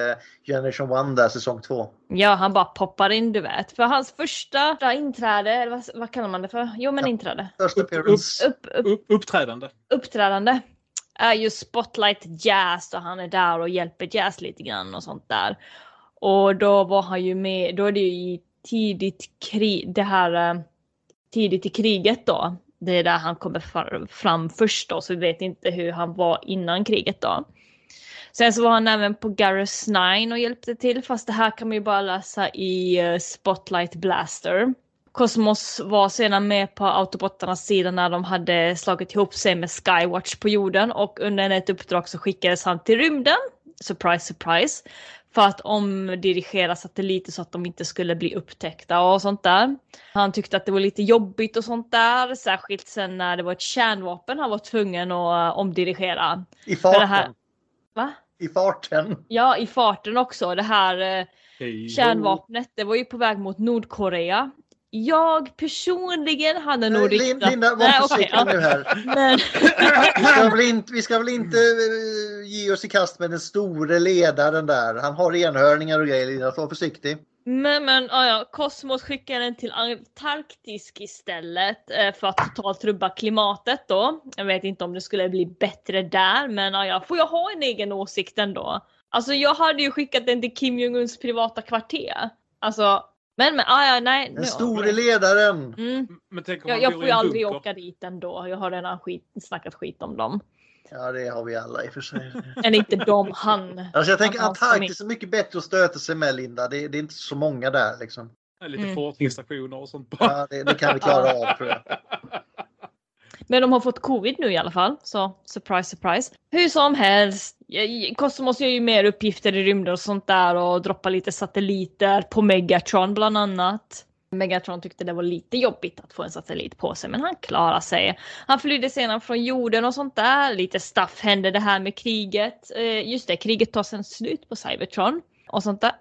S4: Generation 1 där säsong 2.
S1: Ja, han bara poppar in du vet. För hans första inträde, eller vad, vad kallar man det för? Jo men
S4: Ja.
S1: inträde.
S4: Första
S6: Upp, upp.
S4: appearance.
S1: Upp, upp,
S6: Upp, uppträdande.
S1: uppträdande är ju Spotlight Jazz och han är där och hjälper Jazz lite grann och sånt där. Och då var han ju med, då är det ju i tidigt krig, det här eh, tidigt i kriget då. Det är där han kommer far- fram först då, så vi vet inte hur han var innan kriget då. Sen så var han även på Garrus 9 och hjälpte till, fast det här kan man ju bara läsa i eh, Spotlight Blaster. Cosmos var sedan med på Autobottarnas sida när de hade slagit ihop sig med Skywatch på jorden och under ett uppdrag så skickades han till rymden, surprise surprise, för att omdirigera satelliter så att de inte skulle bli upptäckta och sånt där. Han tyckte att det var lite jobbigt och sånt där, särskilt sen när det var ett kärnvapen han var tvungen att eh, omdirigera.
S4: I
S1: För det här-
S4: farten.
S1: Va?
S4: I farten.
S1: Ja, i farten också. Det här eh,
S6: Hej då.
S1: kärnvapnet, det var ju på väg mot Nordkorea. Jag personligen hade nog
S4: Lin-
S1: riktat...
S4: Linda,
S1: Nej,
S4: var
S1: okej,
S4: försiktig
S1: ja.
S4: nu här.
S1: Men,
S4: Vi ska väl inte, vi ska väl inte eh, ge oss i kast med den store ledaren där. Han har enhörningar och grejer. Linda, så Var försiktig.
S1: men, men ja, ja, Kosmos skickar den till Antarktis istället eh, för att totalt rubba klimatet då. Jag vet inte om det skulle bli bättre där, men ja, ja, får jag ha en egen åsikt ändå? Alltså jag hade ju skickat den till Kim Jong-Uns privata kvarter. Alltså, men men, ja, ja, nej.
S4: Den
S1: nu-
S4: store ledaren.
S1: Mm.
S6: Men tänk om
S1: Jag,
S6: han
S1: jag
S6: bor
S1: får
S6: i
S1: ju
S6: en
S1: aldrig
S6: bunker.
S1: åka dit ändå. Jag har redan skit, snackat skit om dem.
S4: Ja, det har vi alla i och för sig.
S1: Eller inte dem, han.
S4: Alltså jag tänker
S1: Han- han som
S4: Antarktis är mycket bättre att stöta sig med Linda. Det, det är inte så många där liksom.
S6: Ja, Lite
S1: Mm.
S6: forskningsstationer och sånt bara.
S4: Ja, det, det kan vi klara av tror jag.
S1: Men de har fått covid nu i alla fall, så surprise surprise. Hur som helst, eh, Cosmos gör ju mer uppgifter i rymden och sånt där och droppar lite satelliter på Megatron bland annat. Megatron tyckte det var lite jobbigt att få en satellit på sig, men han klarar sig. Han flydde sedan från jorden och sånt där. Lite staff hände det här med kriget. Eh, just det, kriget tar sen slut på Cybertron och sånt där.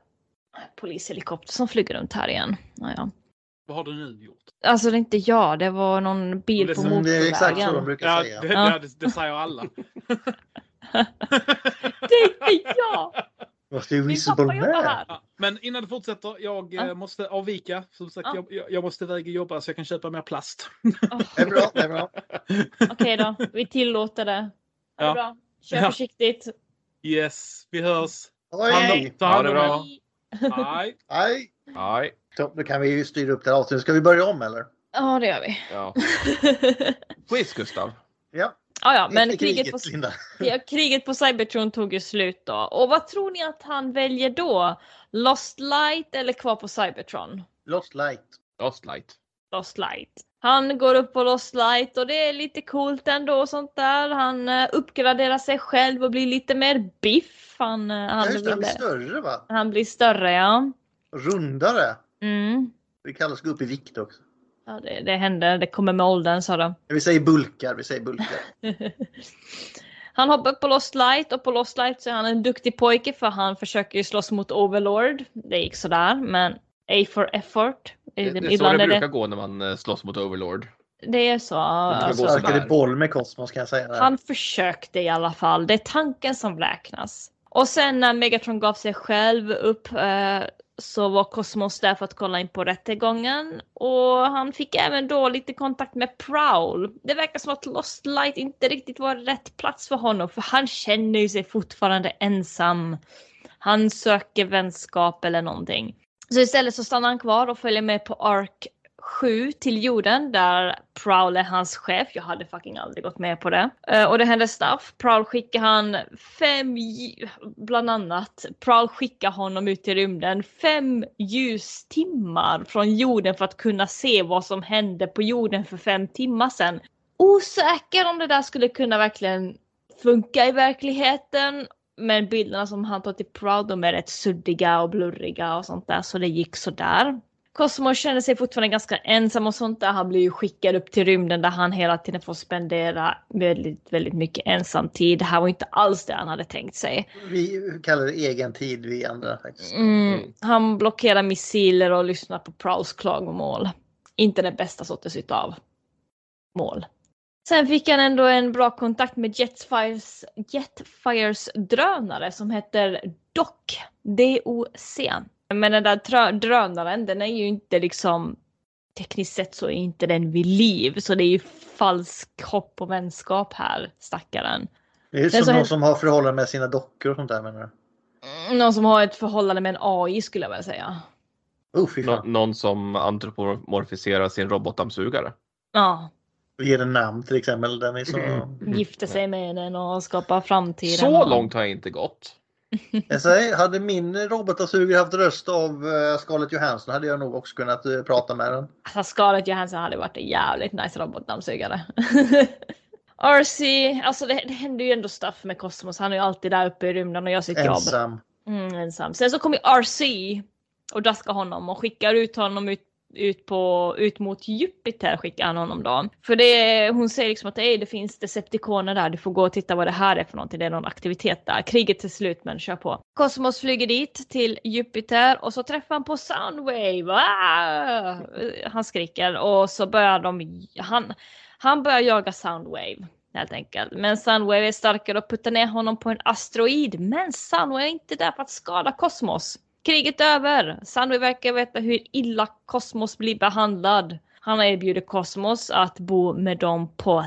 S1: Polishelikopter som flyger runt här igen. Ja, ja.
S6: Vad har du nu gjort?
S1: Alltså det är inte jag, det var någon bil
S6: Det är
S1: på
S6: som-
S4: Mm, Det är exakt så de
S1: motorvägen.
S4: brukar
S6: Ja,
S4: säga.
S6: det,
S1: Ja.
S6: ja. Det, det säger alla.
S1: Det är inte jag!
S4: Måste ju Whistlebone med?
S6: Ja, men innan du fortsätter, jag eh, måste avvika. Som sagt, jag- jag, jag måste iväg och jobba så jag kan köpa mer plast.
S4: Det är bra, det är bra.
S1: Oh, Okej då, vi tillåter det. Ha det
S6: Ja.
S1: bra. Kör
S6: Ja.
S1: försiktigt.
S6: Yes, vi hörs.
S4: Oj.
S6: Hand om- Ta
S5: Ha
S6: hand
S5: det
S6: om
S5: bra.
S6: er. Hej.
S4: Nej.
S5: Nej.
S4: Topp, Då kan vi ju styra upp det här avsnittet. Ska vi börja om eller?
S1: Ja, det gör vi.
S5: Ja. Quiz Gustav.
S4: Ja.
S1: Ja, ja, men
S4: Inte
S1: kriget på,
S4: Linda.
S1: ja, kriget på Cybertron tog ju slut då. Och vad tror ni att han väljer då? Lost Light eller kvar på Cybertron?
S4: Lost Light.
S5: Lost Light.
S1: Lost Light. Han går upp på Lost Light och det är lite coolt ändå och sånt där. Han eh, uppgraderar sig själv och blir lite mer biff. Han, eh,
S4: Ja,
S1: han,
S4: just det, han blir
S1: ville-
S4: större va?
S1: han blir större ja.
S4: Rundare.
S1: Mm.
S4: Det kallas gå upp i vikt också.
S1: ja det, det händer, det kommer med åldern sa de.
S4: Vi säger bulkar, vi säger bulkar.
S1: Han hoppar upp på Lost Light och på Lost Light så är han en duktig pojke för han försöker ju slåss mot Overlord. Det gick sådär men A for effort.
S5: Det, det är så det
S1: Ibland är
S5: brukar
S1: det,
S5: gå när man eh, slåss mot Overlord.
S1: det är så.
S5: brukar
S4: Han
S5: gå
S1: Alltså,
S5: sådär.
S4: sparkade boll med Cosmos kan jag säga. där.
S1: han försökte i alla fall. Det är tanken som räknas. Och sen när Megatron gav sig själv upp eh, så var Cosmos där för att kolla in på rättegången och han fick även då lite kontakt med Prowl. Det verkar som att Lost Light inte riktigt var rätt plats för honom för han känner ju sig fortfarande ensam. Han söker vänskap eller någonting. Så istället så stannar han kvar och följer med på Ark 7 till jorden där Prowl är hans chef. Jag hade fucking aldrig gått med på det. Eh, och det händer stuff. Prowl skickar han fem, lj- bland annat, Prowl skickar honom ut i rymden fem ljustimmar från jorden för att kunna se vad som hände på jorden för fem timmar sedan. Osäker om det där skulle kunna verkligen funka i verkligheten. Men bilderna som han tar till Prowl de är rätt suddiga och blurriga och sånt där så det gick sådär. Cosmo känner sig fortfarande ganska ensam och sånt där. Han blir ju skickad upp till rymden där han hela tiden får spendera väldigt, väldigt mycket ensam tid. Det här var inte alls det han hade tänkt sig.
S4: Vi kallar det egen tid vi andra faktiskt.
S1: Mm. Han blockerar missiler och lyssnar på Prowls klagomål. Inte den bästa sortens utav mål. Sen fick han ändå en bra kontakt med Jetfires, Jetfires drönare som heter DOC. D-O-C. Men den där trö- drönaren den är ju inte liksom tekniskt sett så är inte den vid liv så det är ju falsk hopp och vänskap här stackaren.
S4: Det är
S1: Sen så
S4: som någon
S1: händer-
S4: som har förhållanden med sina dockor och sånt där menar du?
S1: Någon som har ett förhållande med en AI skulle jag vilja säga.
S4: Oh, fy
S5: Nå-
S4: fan.
S5: någon som antropomorfiserar sin robotdammsugare.
S1: Ja,
S4: Ge den namn till exempel. Den är så...
S1: Mm. gifter sig med den och skapar framtiden.
S5: Mm. Så långt har jag inte gått.
S4: Jag säger, hade min robotdammsugare haft röst av eh, Scarlett Johansson hade jag nog också kunnat eh, prata med den.
S1: Alltså Scarlett Johansson hade varit en jävligt nice robotdammsugare. RC, alltså det, det händer ju ändå stuff med Cosmos. Han är ju alltid där uppe i rymden och gör sitt jobb.
S4: Ensam.
S1: Mm, ensam. Sen så kommer RC och daskar honom och skickar ut honom ut, ut, på, ut mot Jupiter. skickar han honom då. För det, hon säger liksom att "Ey, det finns Decepticoner där, du får gå och titta vad det här är för någonting. Det är någon aktivitet där. Kriget är slut men kör på. Cosmos flyger dit till Jupiter och så träffar han på Soundwave. Ah! Han skriker och så börjar de... Han, han börjar jaga Soundwave helt enkelt. Men Sunwave är starkare och puttar ner honom på en asteroid. Men Sunwave är inte där för att skada Kosmos. Kriget är över. Sunwave verkar veta hur illa Kosmos blir behandlad. Han erbjuder Kosmos att bo med dem på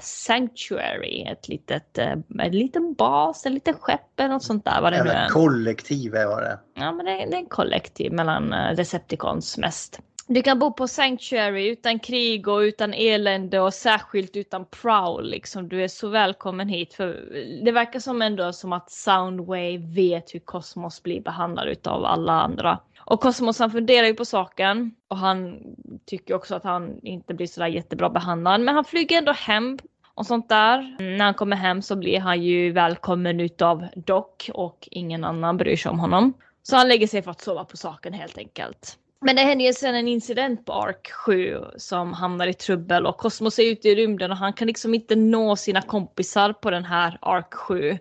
S1: Sanctuary, ett litet, eh, en liten bas, en liten skepp eller något sånt där. Vad det nu är.
S4: Eller kollektiv är vad det är.
S1: Ja, men det, det är en kollektiv mellan eh, Decepticons mest. Du kan bo på Sanctuary utan krig och utan elände och särskilt utan prowl. Liksom. Du är så välkommen hit. För det verkar som ändå som att Soundwave vet hur Cosmos blir behandlad utav alla andra. Och Cosmos han funderar ju på saken och han tycker också att han inte blir sådär jättebra behandlad. Men han flyger ändå hem och sånt där. När han kommer hem så blir han ju välkommen utav Doc och ingen annan bryr sig om honom. Så han lägger sig för att sova på saken helt enkelt. Men det händer ju sen en incident på Ark 7 som hamnar i trubbel och Cosmos är ute i rymden och han kan liksom inte nå sina kompisar på den här Ark 7.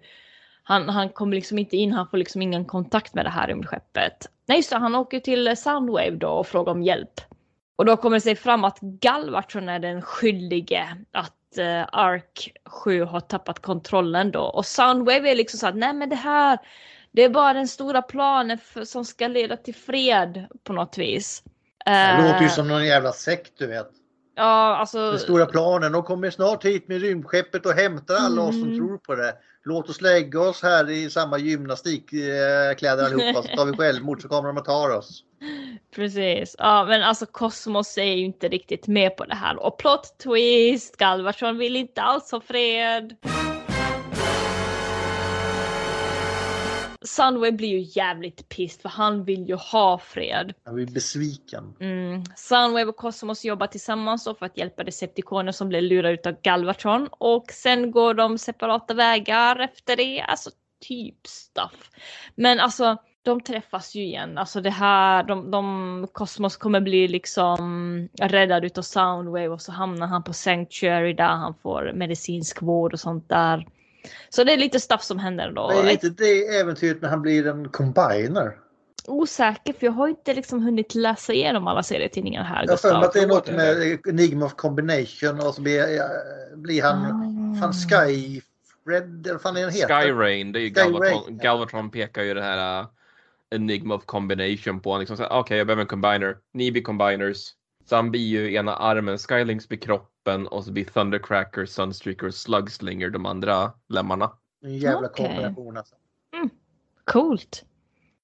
S1: Han, han kommer liksom inte in, han får liksom ingen kontakt med det här rymdskeppet. Nej just det, han åker till Soundwave då och frågar om hjälp. Och då kommer det sig fram att Galvatron är den skyldige att eh, Ark 7 har tappat kontrollen då. Och Soundwave är liksom så att nej men det här, Det är bara den stora planen för, som ska leda till fred på något vis.
S4: Det
S1: Eh,
S4: låter ju som någon jävla sekt du vet.
S1: Ja, alltså.
S4: Den stora planen. De kommer snart hit med rymdskeppet och hämtar alla oss
S1: Mm.
S4: som tror på det. Låt oss lägga oss här i samma gymnastikkläder allihopa så tar vi självmord så kommer de att ta oss.
S1: Precis. Ja, men alltså Cosmos är ju inte riktigt med på det här. Och plot twist, Galvarsson vill inte alls ha fred. Sunway blir ju jävligt pissed för han vill ju ha fred.
S4: Jag blir besviken.
S1: Mm. Sunwave och Cosmos jobbar tillsammans då för att hjälpa Decepticoner som blev lurade ut av Galvatron. Och sen går de separata vägar efter det. Alltså typ stuff. Men alltså de träffas ju igen. Alltså det här, de, de, Cosmos kommer bli liksom räddad utav Soundwave och så hamnar han på Sanctuary där han får medicinsk vård och sånt där. Så det är lite stuff som händer då.
S4: Det är inte det äventyret när han blir en combiner.
S1: osäker för jag har inte liksom hunnit läsa igenom alla serietidningar här.
S4: Jag har för mig att det är något
S1: Gustav.
S4: med Enigma of Combination och så blir, eh, blir han
S1: Ah.
S4: fan Sky Fred, eller fan är den heter?
S5: Skyrain, det är ju
S4: Skyrain,
S5: Galvatron. Galvatron pekar ju det här uh, Enigma of Combination på. Han liksom säger okej, jag behöver en combiner. Ni blir combiners. Så han blir ju ena armen, Skylinks blir kroppen och så blir Thundercracker, Sunstreaker och Slugslinger de andra lemmarna.
S4: En jävla
S1: Okej.
S4: kombination alltså.
S1: Coolt.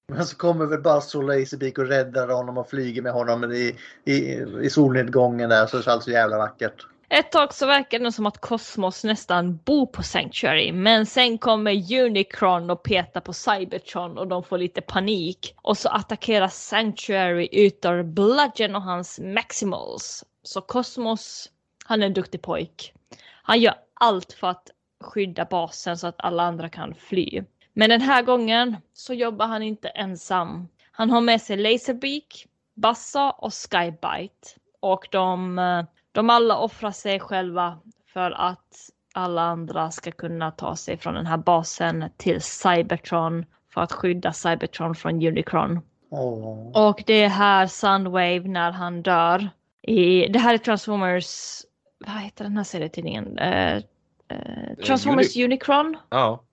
S4: Men så kommer väl Buzz och Laserbeak och räddar honom och flyger med honom i, i, i solnedgången där så det är allt så jävla vackert.
S1: Ett tag så verkade det som att Cosmos nästan bor på Sanctuary men sen kommer Unicron och petar på Cybertron och de får lite panik. Och så attackerar Sanctuary utav Bludgeon och hans Maximals. Så Cosmos, han är en duktig pojk. Han gör allt för att skydda basen så att alla andra kan fly. Men den här gången så jobbar han inte ensam. Han har med sig Laserbeak, Bassa och Skybite. Och de, eh, de alla offrar sig själva för att alla andra ska kunna ta sig från den här basen till Cybertron för att skydda Cybertron från Unicron.
S4: Åh.
S1: Och det är här Sunwave när han dör. I, det här är Transformers, vad heter den här serietidningen? Eh, eh, Transformers
S5: Uni-
S1: Unicron.
S5: Ja.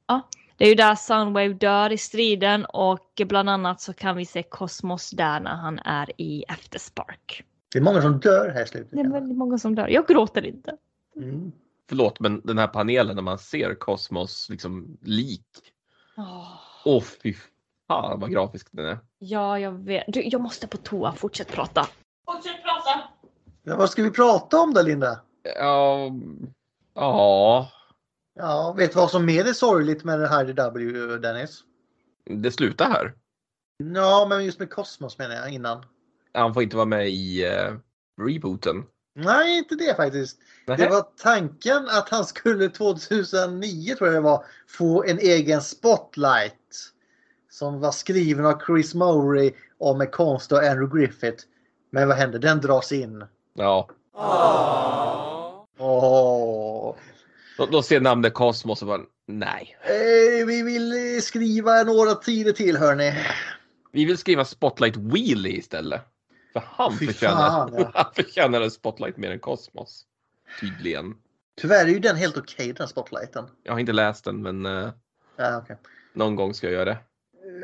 S1: Det är ju där Sunwave dör i striden och bland annat så kan vi se Cosmos där när han är i Afterspark.
S4: Det är många som dör här i slutet.
S1: Det är väldigt många som dör. Jag gråter inte.
S4: Mm.
S5: Förlåt, men den här panelen när man ser Cosmos liksom lik.
S1: Åh,
S5: Åh fy fan vad grafisk den är.
S1: ja, jag vet. Du, jag måste på toa. Fortsätt prata. Fortsätt prata!
S4: Ja, vad ska vi prata om då Linda?
S5: Ja. Ja.
S4: Ja, vet du vad som mer är sorgligt med det här i W Dennis?
S5: Det slutar här.
S4: Ja, men just med Cosmos menar jag innan.
S5: Han får inte vara med i eh, rebooten.
S4: Nej, inte det faktiskt. Det
S5: Nähä.
S4: var tanken att han skulle 2009 tror jag det var få en egen spotlight. Som var skriven av Chris Mowry och med konst och Andrew Griffith. Men vad hände? Den dras in.
S5: Ja.
S4: Åh.
S5: Då, då ser namnet Cosmos och bara nej.
S4: Eh, vi vill eh, skriva några tider till hörni.
S5: Vi vill skriva Spotlight Wheelie istället. För han,
S4: Fy
S5: förtjänar,
S4: fan, ja.
S5: han förtjänar en Spotlight mer än Cosmos. Tydligen.
S4: Tyvärr är ju den helt okej den spotlighten.
S5: Jag har inte läst den men eh,
S4: Ja, okej.
S5: någon gång ska jag göra det.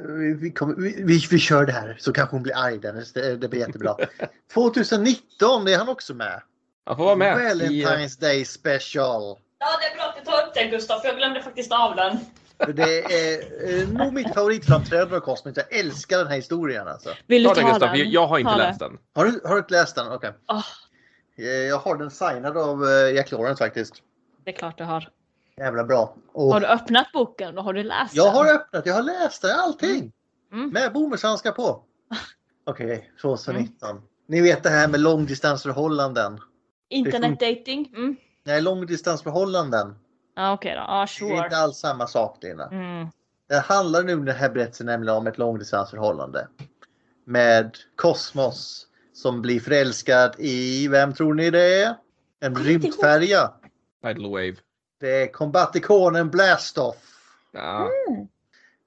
S4: Vi, vi, kommer, vi, vi, vi kör det här så kanske hon blir arg Dennis. Det, det blir jättebra. 2019 det är han också med.
S5: Han får vara med. I, eh,
S4: Valentine's Day special.
S1: Ja, det är bra att du tar upp den Gustav, för jag glömde faktiskt av den.
S4: För Det är eh, nog mitt favoritframträdande av Cosmos. Jag älskar den här historien alltså.
S1: Vill du
S5: ta
S1: ta
S5: den Gustav,
S1: den?
S5: jag, jag har inte
S1: Ta
S5: läst den.
S4: Har du, har du inte läst den? Okej.
S1: Ah.
S4: Eh, Jag har den signad av eh, Jack Lawrence faktiskt.
S1: Det är klart du har.
S4: Jävla bra. Och
S1: Har du öppnat boken och har du läst
S4: jag
S1: den?
S4: har öppnat, jag har läst den, allting.
S1: Mm.
S4: Med bomullshandskar på. Okej, 2019.
S1: Mm.
S4: Ni vet det här med långdistansförhållanden.
S1: Internetdating? Mm.
S4: Nej, långdistansförhållanden.
S1: Ja, okej då. Ja,
S4: Det är
S1: sure.
S4: inte alls samma sak Lina.
S1: Mm.
S4: Det handlar nu den här berättelsen nämligen om ett långdistansförhållande. Med Cosmos som blir förälskad i, vem tror ni det är? En
S1: Kommer inte
S4: rymdfärja.
S5: Tidal Wave.
S4: Det är kombatikonen Blastoff.
S5: Ja.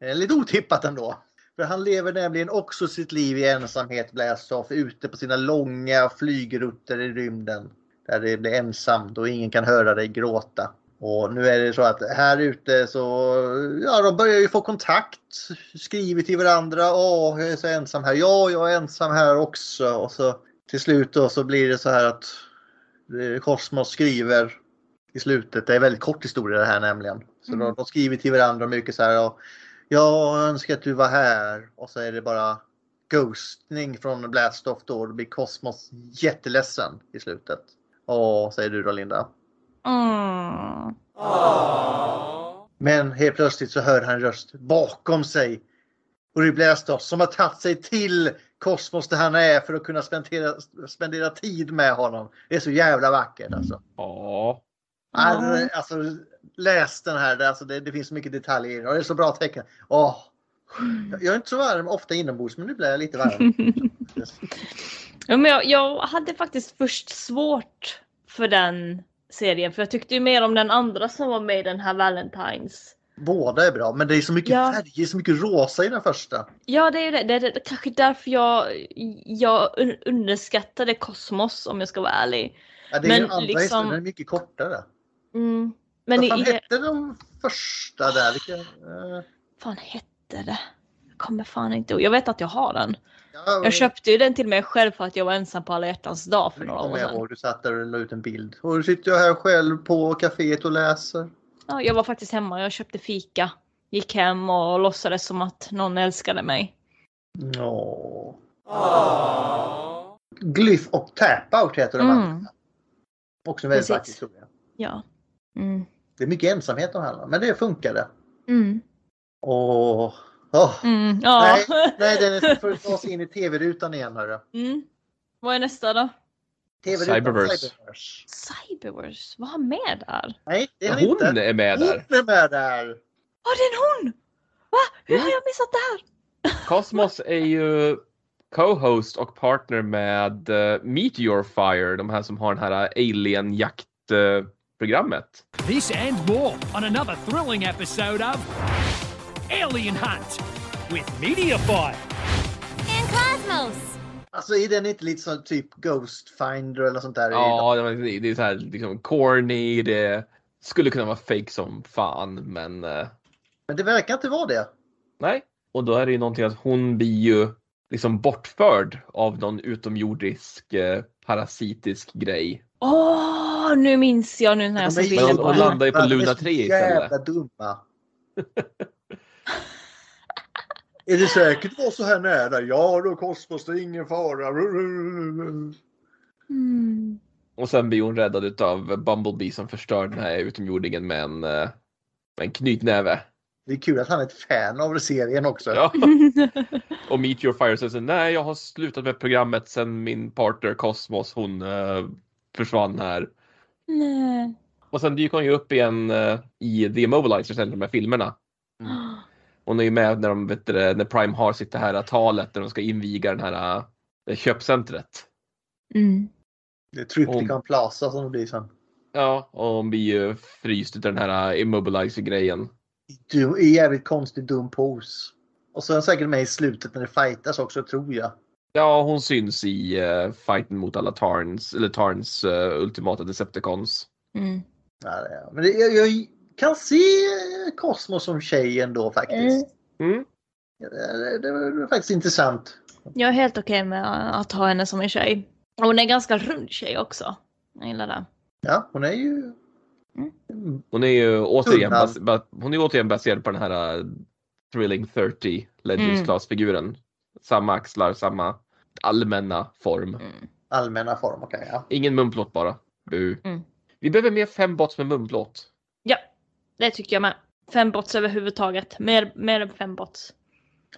S4: Eh, Lite otippat ändå. För han lever nämligen också sitt liv i ensamhet Blastoff ute på sina långa flygrutter i rymden. Där det blir ensamt och ingen kan höra dig gråta. Och nu är det så att här ute så ja, de börjar ju få kontakt. Skriver till varandra. Åh, jag är så ensam här. Ja, jag är ensam här också. Och så till slut då så blir det så här att eh, Cosmos skriver i slutet. Det är en väldigt kort historia det här nämligen. Så
S12: Mm.
S4: de, de skriver till varandra mycket så här. Ja, jag önskar att du var här. Och så är det bara ghostning från Blastoff då. Då blir Cosmos jätteledsen i slutet. Åh, säger du då Linda.
S1: Mm.
S4: Men helt plötsligt så hör han en röst bakom sig. Och det blir Astor som har tagit sig till Kosmos där han är för att kunna spendera, spendera tid med honom. Det är så jävla vackert alltså.
S5: Ja.
S4: Alltså, läs den här, alltså, det, det finns så mycket detaljer i den och det är så bra tecken. Åh. Jag- Jag är inte så varm ofta inombords men nu blir jag lite varm.
S1: Ja, men jag, jag hade faktiskt först svårt för den serien för jag tyckte ju mer om den andra som var med i den här Valentines.
S4: Båda är bra men det är så mycket
S1: Ja.
S4: färger, så mycket rosa i den första.
S1: Ja, det är ju det. Det är det- kanske därför jag, jag un- underskattade Kosmos om jag ska vara ärlig.
S4: Ja, det är ju andra historien, den är mycket kortare.
S1: mm, liksom- men
S4: Vad
S1: i,
S4: fan
S1: i,
S4: hette de första där? Vilka, eh,
S1: fan hette det? Jag kommer fan inte ihåg. Jag vet att jag har den.
S4: Ja,
S1: Jag köpte ju den till mig själv för att jag var ensam på alla hjärtans dag för några år
S4: Kommer jag
S1: sedan.
S4: ihåg, du satt där och la ut en bild. Och nu sitter jag här själv på kaféet och läser.
S1: Ja, jag var faktiskt hemma, jag köpte fika. Gick hem och låtsades som att någon älskade mig.
S4: Ja. Glyff och Tapout heter de andra.
S1: Mm,
S4: Också en väldigt
S1: Precis.
S4: vacker historia.
S1: ja. Mm.
S4: Det är mycket ensamhet de handlar om, men det funkade.
S1: Mm.
S4: Åh. åh.
S1: Mm, ja.
S4: Nej, nej, den får ta oss in i tv-rutan igen hörru.
S1: Mm. Vad är nästa då?
S4: TV-rutan
S5: Cyberverse.
S1: Cyberverse? Vad har han med där?
S4: Nej, det är han
S5: Hon
S4: inte.
S5: är med där.
S4: Hon är med där.
S1: Åh, det är en hon! Va? Hur har jag missat det här?
S5: Cosmos är ju co-host och partner med eh, Meteor Fire, de här som har den här eh, alien-jaktprogrammet.
S14: This and more on another thrilling episode of Alien Hunt with Media Fire.
S3: And Cosmos!
S4: Alltså är den inte lite som typ Ghost Finder eller sånt där?
S5: Ja, det är- det är så här liksom corny, det skulle kunna vara fake som fan, men... eh,
S4: Men det verkar inte vara det.
S5: Nej, och då är det ju någonting att hon blir ju liksom bortförd av någon utomjordisk eh, parasitisk grej.
S1: Åh, nu minns jag nu när jag såg
S5: Men hon,
S1: bilden på
S5: hon landar ju på Luna 3 istället.
S4: Jävla dumma. är det säkert var så här nära? Ja, då kostas det ingen fara.
S1: Mm.
S5: Och sen blir hon räddad utav Bumblebee som förstör den här utomjordingen med en, eh, med en knytnäve.
S4: Det är kul att han är ett fan av serien också.
S5: Ja. Och Meet Your Fire säger så, nej jag har slutat med programmet sen min partner Cosmos hon eh, försvann här.
S1: Nej.
S5: Och sen dyker hon ju upp igen eh, i The Immobilizer sen de här filmerna.
S1: Mm.
S5: Hon är ju med när, de, vet du, det, när Prime har sitt det här talet när de ska inviga den här eh, köpcentret.
S1: Mm.
S4: Det är Trypticon Plaza som det blir sen.
S5: Ja, och hon blir ju fryst utav den här eh, Immobilizer-grejen.
S4: Du är jävligt konstig dum pose. Och så är han säkert med i slutet när det fightas också tror jag.
S5: Ja, hon syns i eh, fighten mot alla Tarns, eller Tarns eh, ultimata Decepticons.
S1: Mm.
S4: Ja, det är- men det, jag, jag kan se Cosmos som tjej ändå faktiskt.
S5: Mm.
S4: Det, det, var- det var faktiskt intressant.
S1: Jag är helt okej med att ha henne som en tjej. Och Hon är en ganska rund tjej också. Jag gillar det.
S4: Ja, hon är ju...
S5: Hon är ju återigen,
S4: Tunnan.
S5: bas, ba, hon är återigen baserad på den här eh, Thrilling 30 Legends
S4: Mm.
S5: Class-figuren. Samma axlar, samma allmänna form.
S4: Allmänna form, okej. ja.
S5: Ingen munplåt bara. Bu.
S1: Mm.
S5: Vi behöver mer fem bots med munplåt.
S1: Ja, det tycker jag med. Fem bots överhuvudtaget. Mer, mer än fem bots.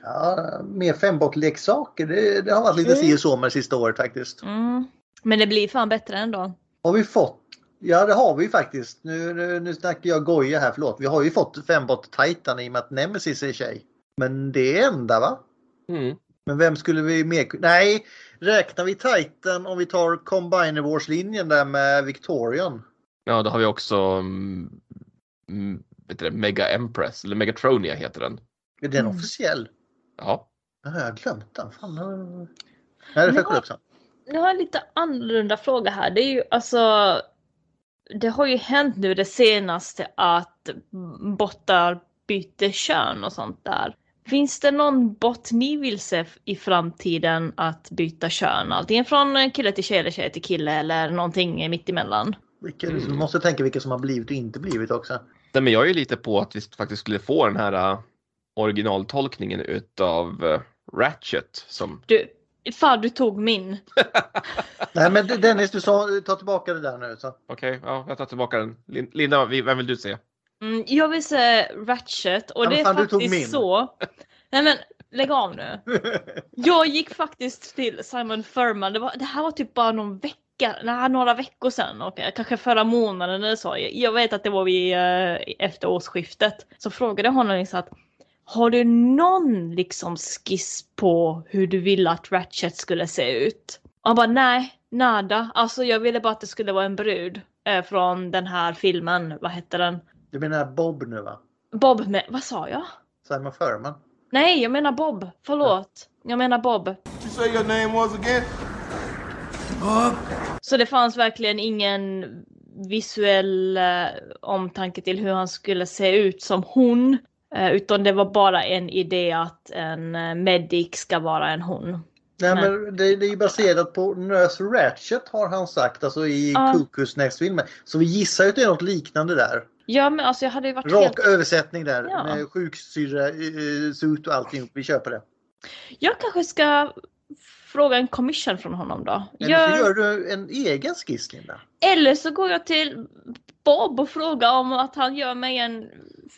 S4: Ja, mer fembot-leksaker. Det, det har varit lite
S1: Mm.
S4: si och så med det sista året faktiskt.
S1: Mm. Men det blir fan bättre ändå.
S4: Har vi fått? Ja, det har vi faktiskt. Nu, nu, nu snackar jag goja här, förlåt. Vi har ju fått fembot Titan i och med att Nemesis är tjej. Men det är enda va?
S5: Mm.
S4: Men vem skulle vi mer ku- Nej, räknar vi Titan om vi tar Combiner Wars-linjen där med Victorian?
S5: Ja, då har vi också mm, mm, vet du det, Mega Empress, eller Megatronia heter den.
S4: Är den officiell?
S5: Ja.
S4: Ja, jag har glömt den. Fan, jag... Nej, det får jag kolla upp sen.
S1: Nu har jag en lite annorlunda fråga här. Det är ju alltså det har ju hänt nu det senaste att bottar byter kön och sånt där. Finns det någon bot ni vill se i framtiden att byta kön? Antingen från kille till tjej eller tjej till kille eller någonting mittemellan.
S4: Vilka,
S1: Mm.
S4: Du måste tänka vilka som har blivit och inte blivit också.
S5: Nej, men jag är ju lite på att vi faktiskt skulle få den här äh, originaltolkningen utav äh, Ratchet som
S1: Du, fan du tog min.
S4: Nej men du, Dennis, du sa ta tillbaka det där nu. Så.
S5: Okej, ja, jag tar tillbaka den. Lin- Linda, vi- vem vill du se?
S1: Mm, jag vill se Ratchet och
S5: Ja,
S1: det
S5: men
S1: är
S5: fan, du tog min.
S1: faktiskt så. Nej men lägg av nu. Jag gick faktiskt till Simon Furman. Det, var, det här var typ bara någon vecka, nej, några veckor sedan. Och eh, kanske förra månaden eller så. Jag- Jag vet att det var vid, eh, efter årsskiftet. Så frågade jag honom liksom att har du någon liksom skiss på hur du ville att Ratchet skulle se ut? Och han bara nej, nada. Alltså jag ville bara att det skulle vara en brud. eh, Från den här filmen, vad hette den?
S4: Du menar Bob nu va?
S1: Bob med, vad sa jag?
S4: Simon Furman?
S1: Nej, jag menar Bob. Förlåt. Jag menar Bob.
S12: you say your name was again?
S1: Så det fanns verkligen ingen visuell eh, omtanke till hur han skulle se ut som hon. Eh, utan det var bara en idé att en eh, medic ska vara en hon.
S4: Nej,
S1: Men-
S4: men det, det är ju baserat på Nurse Ratchet har han sagt alltså i
S1: Ja.
S4: Cuckoo's Next filmen. Så vi gissar ju att det är något liknande där.
S1: Ja, men alltså jag hade ju varit
S4: Rak
S1: helt...
S4: översättning där
S1: Ja.
S4: med sjuksyrra, eh, suit och allting. Vi köper det.
S1: Jag kanske ska fråga en commission från honom då.
S4: Eller
S1: Gör-
S4: så gör du en egen skiss Linda.
S1: Eller så går jag till Bob och frågar om att han gör mig en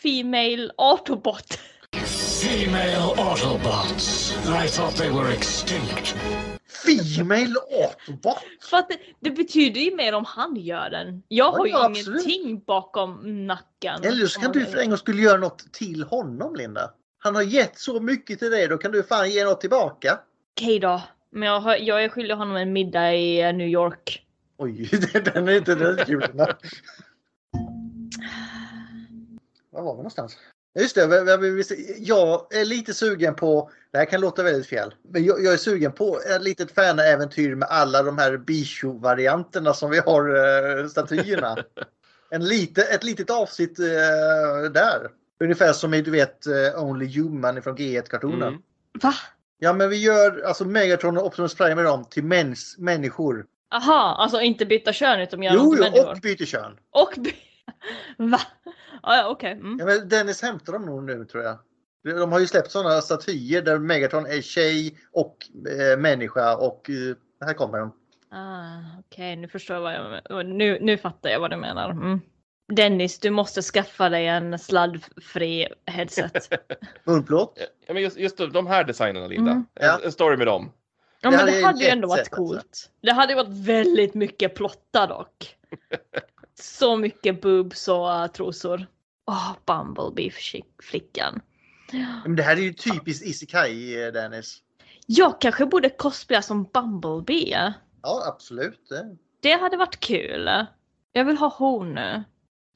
S1: Female Autobot.
S15: Female Autobots. I thought they were extinct.
S4: Female Autobot?
S1: För att det, det betyder ju mer om han gör den. Jag har
S4: Ja,
S1: ju
S4: absolut.
S1: ingenting bakom nacken.
S4: Eller så
S1: Om
S4: kan
S1: man
S4: du för en gång skulle göra något till honom Linda. Han har gett så mycket till dig, då kan du fan ge något tillbaka.
S1: Okej då. Men jag, har, jag är skyldig honom en middag i eh, New York.
S4: Oj, den är inte den kulen. Var var vi någonstans? Just det, vi- vi- vi- jag är lite sugen på, det här kan låta väldigt fel, men jag, jag är sugen på ett litet fanäventyr med alla de här Bishu-varianterna som vi har eh, statyerna. En lite, ett litet avsnitt eh, där. Ungefär som i du vet eh, Only Human från G1-kartonen.
S5: Mm.
S1: Va?
S4: Ja men vi gör alltså Megatron och Optimus Prime med dem till mäns, människor.
S1: Aha, alltså inte byta kön utan göra
S4: Jo,
S1: något
S4: jo,
S1: med
S4: och byter kön.
S1: Och by- Va? Ja, ja, okej. Mm.
S4: Ja, men Dennis hämtar dem nog nu tror jag. De har ju släppt sådana statyer där Megatron är tjej och eh, människa och eh, här kommer de.
S1: Ah, Okej, nu förstår jag vad jag nu, nu fattar jag vad du menar. Mm. Dennis, du måste skaffa dig en sladdfri headset.
S4: Munplåt?
S5: Ja, men just, just de här designerna Linda.
S1: Mm.
S5: En, en story med dem.
S1: Ja, men det hade ju alltså. ändå varit coolt. Det hade ju varit väldigt mycket plotta dock. Så mycket boobs och eh, trosor. Åh, Bumblebee-flickan.
S4: Men det här är ju typiskt Isekai eh, Dennis.
S1: Jag kanske borde cosplaya som Bumblebee.
S4: Ja absolut. eh.
S1: Det hade varit kul. Jag vill ha hon nu.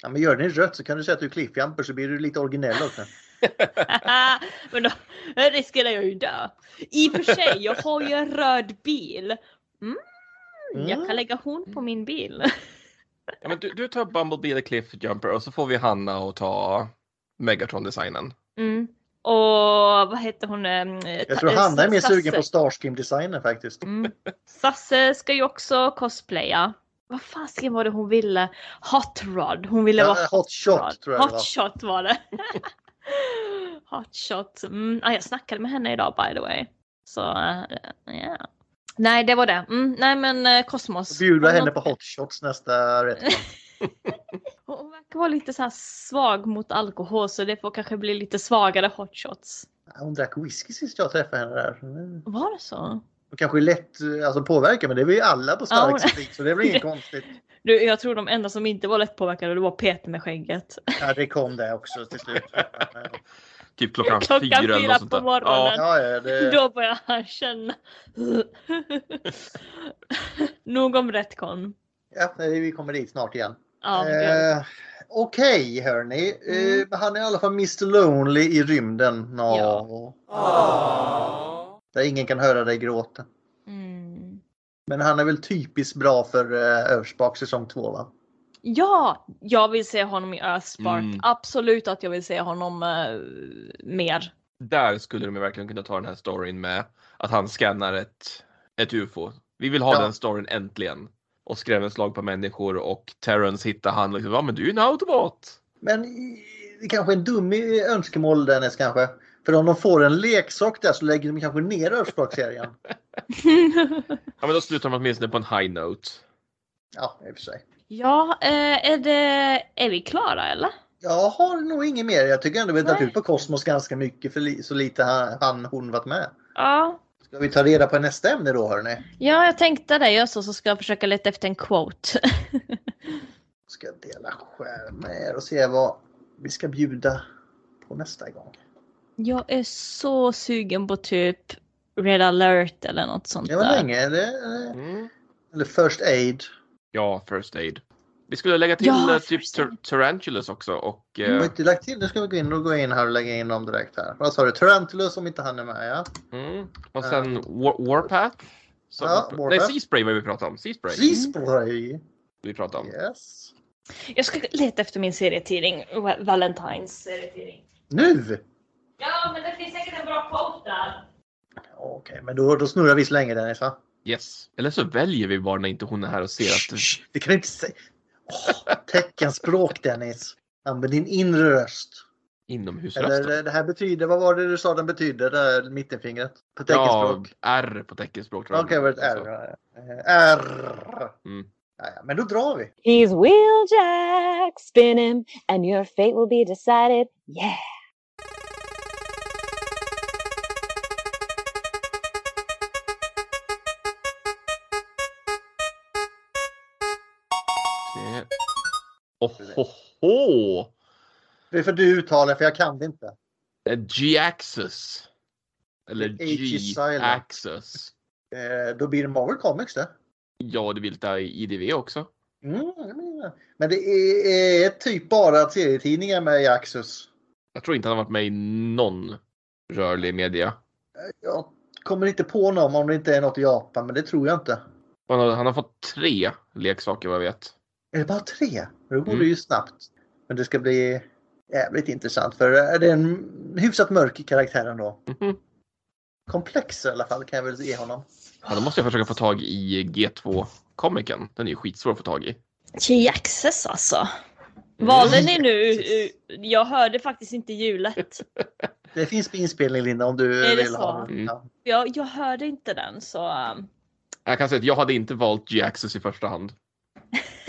S4: Ja, men gör den i rött så kan du säga att du är cliffjumper så blir du lite originell också.
S1: men då riskerar jag ju dö. I och för sig, jag har ju en röd bil. Mm, Jag
S4: Mm.
S1: kan lägga hon på min bil.
S5: Ja, men du, du tar Bumblebee eller Cliffjumper och så får vi Hanna och ta Megatron-designen.
S1: Mm. Och vad heter hon? eh,
S4: Jag tror
S1: Ta-
S4: Hanna är mer sugen
S1: Sasse.
S4: på Starscream-designen faktiskt.
S1: Sasse ska ju också cosplaya. Vad fasken var det hon ville? Hot Rod. Hon ville
S4: Ja, eh,
S1: vara
S4: hot shot,
S1: rod.
S4: tror jag det
S1: Hot
S4: var.
S1: Shot var det. hot Shot. Mm, ja, jag snackade med henne idag by the way. Så eh, ja. Nej, det var det. Mm, nej, men eh, Cosmos.
S4: Bjuda
S1: Hon-
S4: henne på hot shots nästa rätt.
S1: Hon verkar vara lite så här svag mot alkohol så det får kanske bli lite svagare hot shots.
S4: Hon drack whisky sist jag träffade henne där. Mm.
S1: Var det så?
S4: Och kanske lätt eh, alltså, påverka men det är vi alla på
S1: Ja,
S4: stark
S1: hon-
S4: sprit så det är väl inget konstigt.
S1: Du, jag tror de enda som inte var lättpåverkade det var Peter med skägget.
S4: Ja, det kom det också till slut.
S5: Typ klockan,
S1: Klockan
S5: fyra eller
S1: fyra
S5: något sånt
S1: på
S5: där.
S1: morgonen.
S4: Ja, ja, det-
S1: Då börjar han känna. Nog om retcon.
S4: Ja, nej, vi kommer dit snart igen.
S1: Ja, det gör Mm.
S4: eh, Okej hörni, eh, han är i alla fall Mr Lonely i rymden. Nå. Där ingen kan höra dig gråta.
S1: Mm.
S4: Men han är väl typiskt bra för eh, Överspak säsong 2 va?
S1: Ja, jag vill se honom i Earthspark.
S5: Mm.
S1: Absolut att jag vill se honom eh, mer.
S5: Där skulle de ju verkligen kunna ta den här storyn med att han scannar ett, ett UFO. Vi vill ha den storyn äntligen. Och skrämmer slag på människor och Terrence hittar han liksom, ja men du är ju en automat.
S4: Men i- det är kanske är en dum i- önskemål Dennis kanske. För om de får en leksak där så lägger de kanske ner Earthspark-serien.
S5: Ja men då slutar de åtminstone på en high note.
S4: Ja, i och för sig.
S1: Ja, eh, är, det, är vi klara eller?
S4: Jag har nog inget mer. Jag tycker ändå vi har tagit ut på Kosmos ganska mycket för li- så lite han, han hon varit med.
S1: Ja.
S4: Ska vi ta reda på nästa ämne då hörni?
S1: ja, jag tänkte det. Jag så, så ska jag försöka leta efter en quote.
S4: Ska dela skärm med er och se vad vi ska bjuda på nästa gång.
S1: jag är så sugen på typ Red alert eller något sånt
S4: Det var
S1: där.
S4: länge. Det, det- Eller First Aid.
S5: Ja, first aid. Vi skulle lägga till
S4: Ja, Mm.
S5: eh, typ tar- Tarantulas också och
S4: Vi har
S5: eh,
S4: inte lagt till. Nu ska vi gå in och gå in här och lägga in dem direkt här. Vad sa du? Tarantulus om inte han är med ja.
S5: Mm. Och sen War- Warpath. Så,
S4: Ja,
S5: Nej,
S4: Warpath.
S5: Sea Spray var vi pratade om. Sea Spray.
S4: Sea Spray.
S5: Vi pratade om.
S4: Yes.
S1: Jag ska leta efter min serietidning, Va- Valentines serietidning.
S4: Nu!
S1: Ja, men det finns säkert en bra quote där.
S4: Okej, men då, då snurrar vi så länge Dennis va?
S5: Yes. Eller så väljer vi bara när inte hon är här och ser att...
S4: Det kan du inte säga. Åh, teckenspråk Dennis. Använd din inre röst.
S5: Inomhusrösten.
S4: Eller eh, det här betyder, vad var det du sa den betyder? Det här mittenfingret? På
S5: Ja,
S4: teckenspråk?
S5: R på teckenspråk tror
S4: Okej,
S5: jag. Alltså.
S4: okay, var det ett R? ja. Eh, R.
S5: Mm.
S4: Ja, ja, men då drar vi.
S16: He's wheeljack, spin him, and your fate will be decided. Yeah.
S5: Se. Ohoho!
S4: Det är för du uttalar för jag kan det inte.
S5: Eh, G-axis. Eller
S4: H is silent.
S5: G-axis.
S4: Eh, Då blir det Marvel Comics det.
S5: Ja, det vill ta i IDV också.
S4: Mm, jag menar. men det är, är typ bara serietidningar med i Axus.
S5: Jag tror inte han har varit med i någon rörlig media.
S4: Jag kommer inte på någon om det inte är något i Japan, men det tror jag inte.
S5: Han har, han har fått tre leksaker vad jag vet.
S4: Är det bara tre? Då går
S5: Mm.
S4: det ju snabbt. Men det ska bli jävligt intressant för är det är en hyfsat mörk karaktär ändå. Komplex i alla fall kan jag väl ge honom.
S5: Ja, då måste jag försöka få tag i G2-komiken. Den är ju skitsvår att få tag i.
S1: G-axis alltså.
S4: Mm.
S1: Valde ni nu? eh, Jag hörde faktiskt inte hjulet.
S4: Det finns på inspelning Linda om du
S1: Är det
S4: vill ha
S1: så?
S4: den. Ja.
S1: Jag, jag hörde inte den så... ehm,
S5: Jag kan säga att jag hade inte valt G-axis i första hand.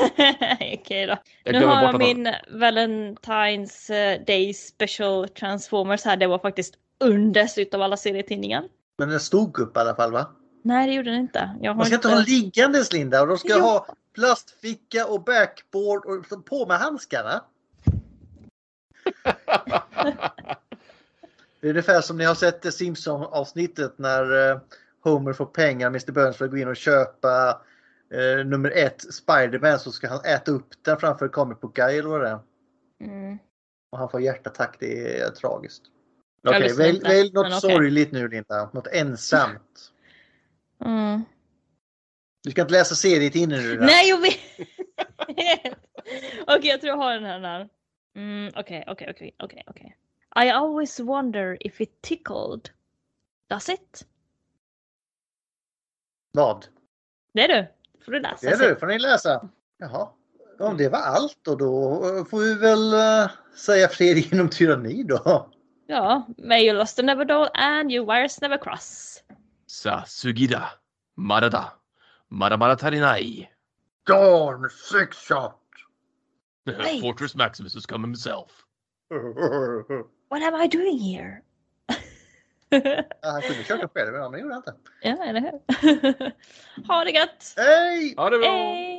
S1: Okej då.
S5: Jag
S1: nu
S5: glömmer
S1: har
S5: bort
S1: jag
S5: att-
S1: min Valentine's eh, Day Special Transformers här. Det var faktiskt underst utav alla serietidningar.
S4: Men den stod upp i alla fall va?
S1: Nej, det gjorde den inte. Jag har
S4: Man ska inte ha den liggandes Linda och de ska
S1: Jo.
S4: ha plastficka och backboard och på med handskarna. det är ungefär som ni har sett det Simpsons-avsnittet när eh, Homer får pengar och Mr. Burns får gå in och köpa eh, nummer ett Spiderman så ska han äta upp den framför Comic Book Guy eller vad det är.
S1: Mm.
S4: Och han får hjärtattack, det är tragiskt.
S1: Jag
S4: Okej,
S1: lyssnar
S4: välj,
S1: inte,
S4: välj
S1: men
S4: något
S1: okej.
S4: sorgligt nu Linda. Något ensamt.
S1: Mm.
S4: Du ska inte läsa serietidningar nu.
S1: Nej, jag vet! okej, jag tror jag har den här. här. Mm, Okej, okej, okej, okej, okej. I always wonder if it tickled. Does it?
S4: Vad?
S1: Det är du. får du läsa.
S4: Det är
S1: sen.
S4: du, får ni läsa. Jaha. Om det var allt och då eh, får vi väl eh, säga fred inom tyranni då.
S1: Ja. May you lost never doll and you wires never cross.
S5: Sasugida. Marada. Maramaratarina'i.
S4: Darn six shot!
S1: Nej.
S5: Fortress Maximus has come himself.
S1: What am I doing here?
S4: Ja, han kunde kört den själv men det gjorde han inte.
S1: Ja, eller hur? ha det gött!
S4: Hej!
S5: Ha det
S1: bra! Hej!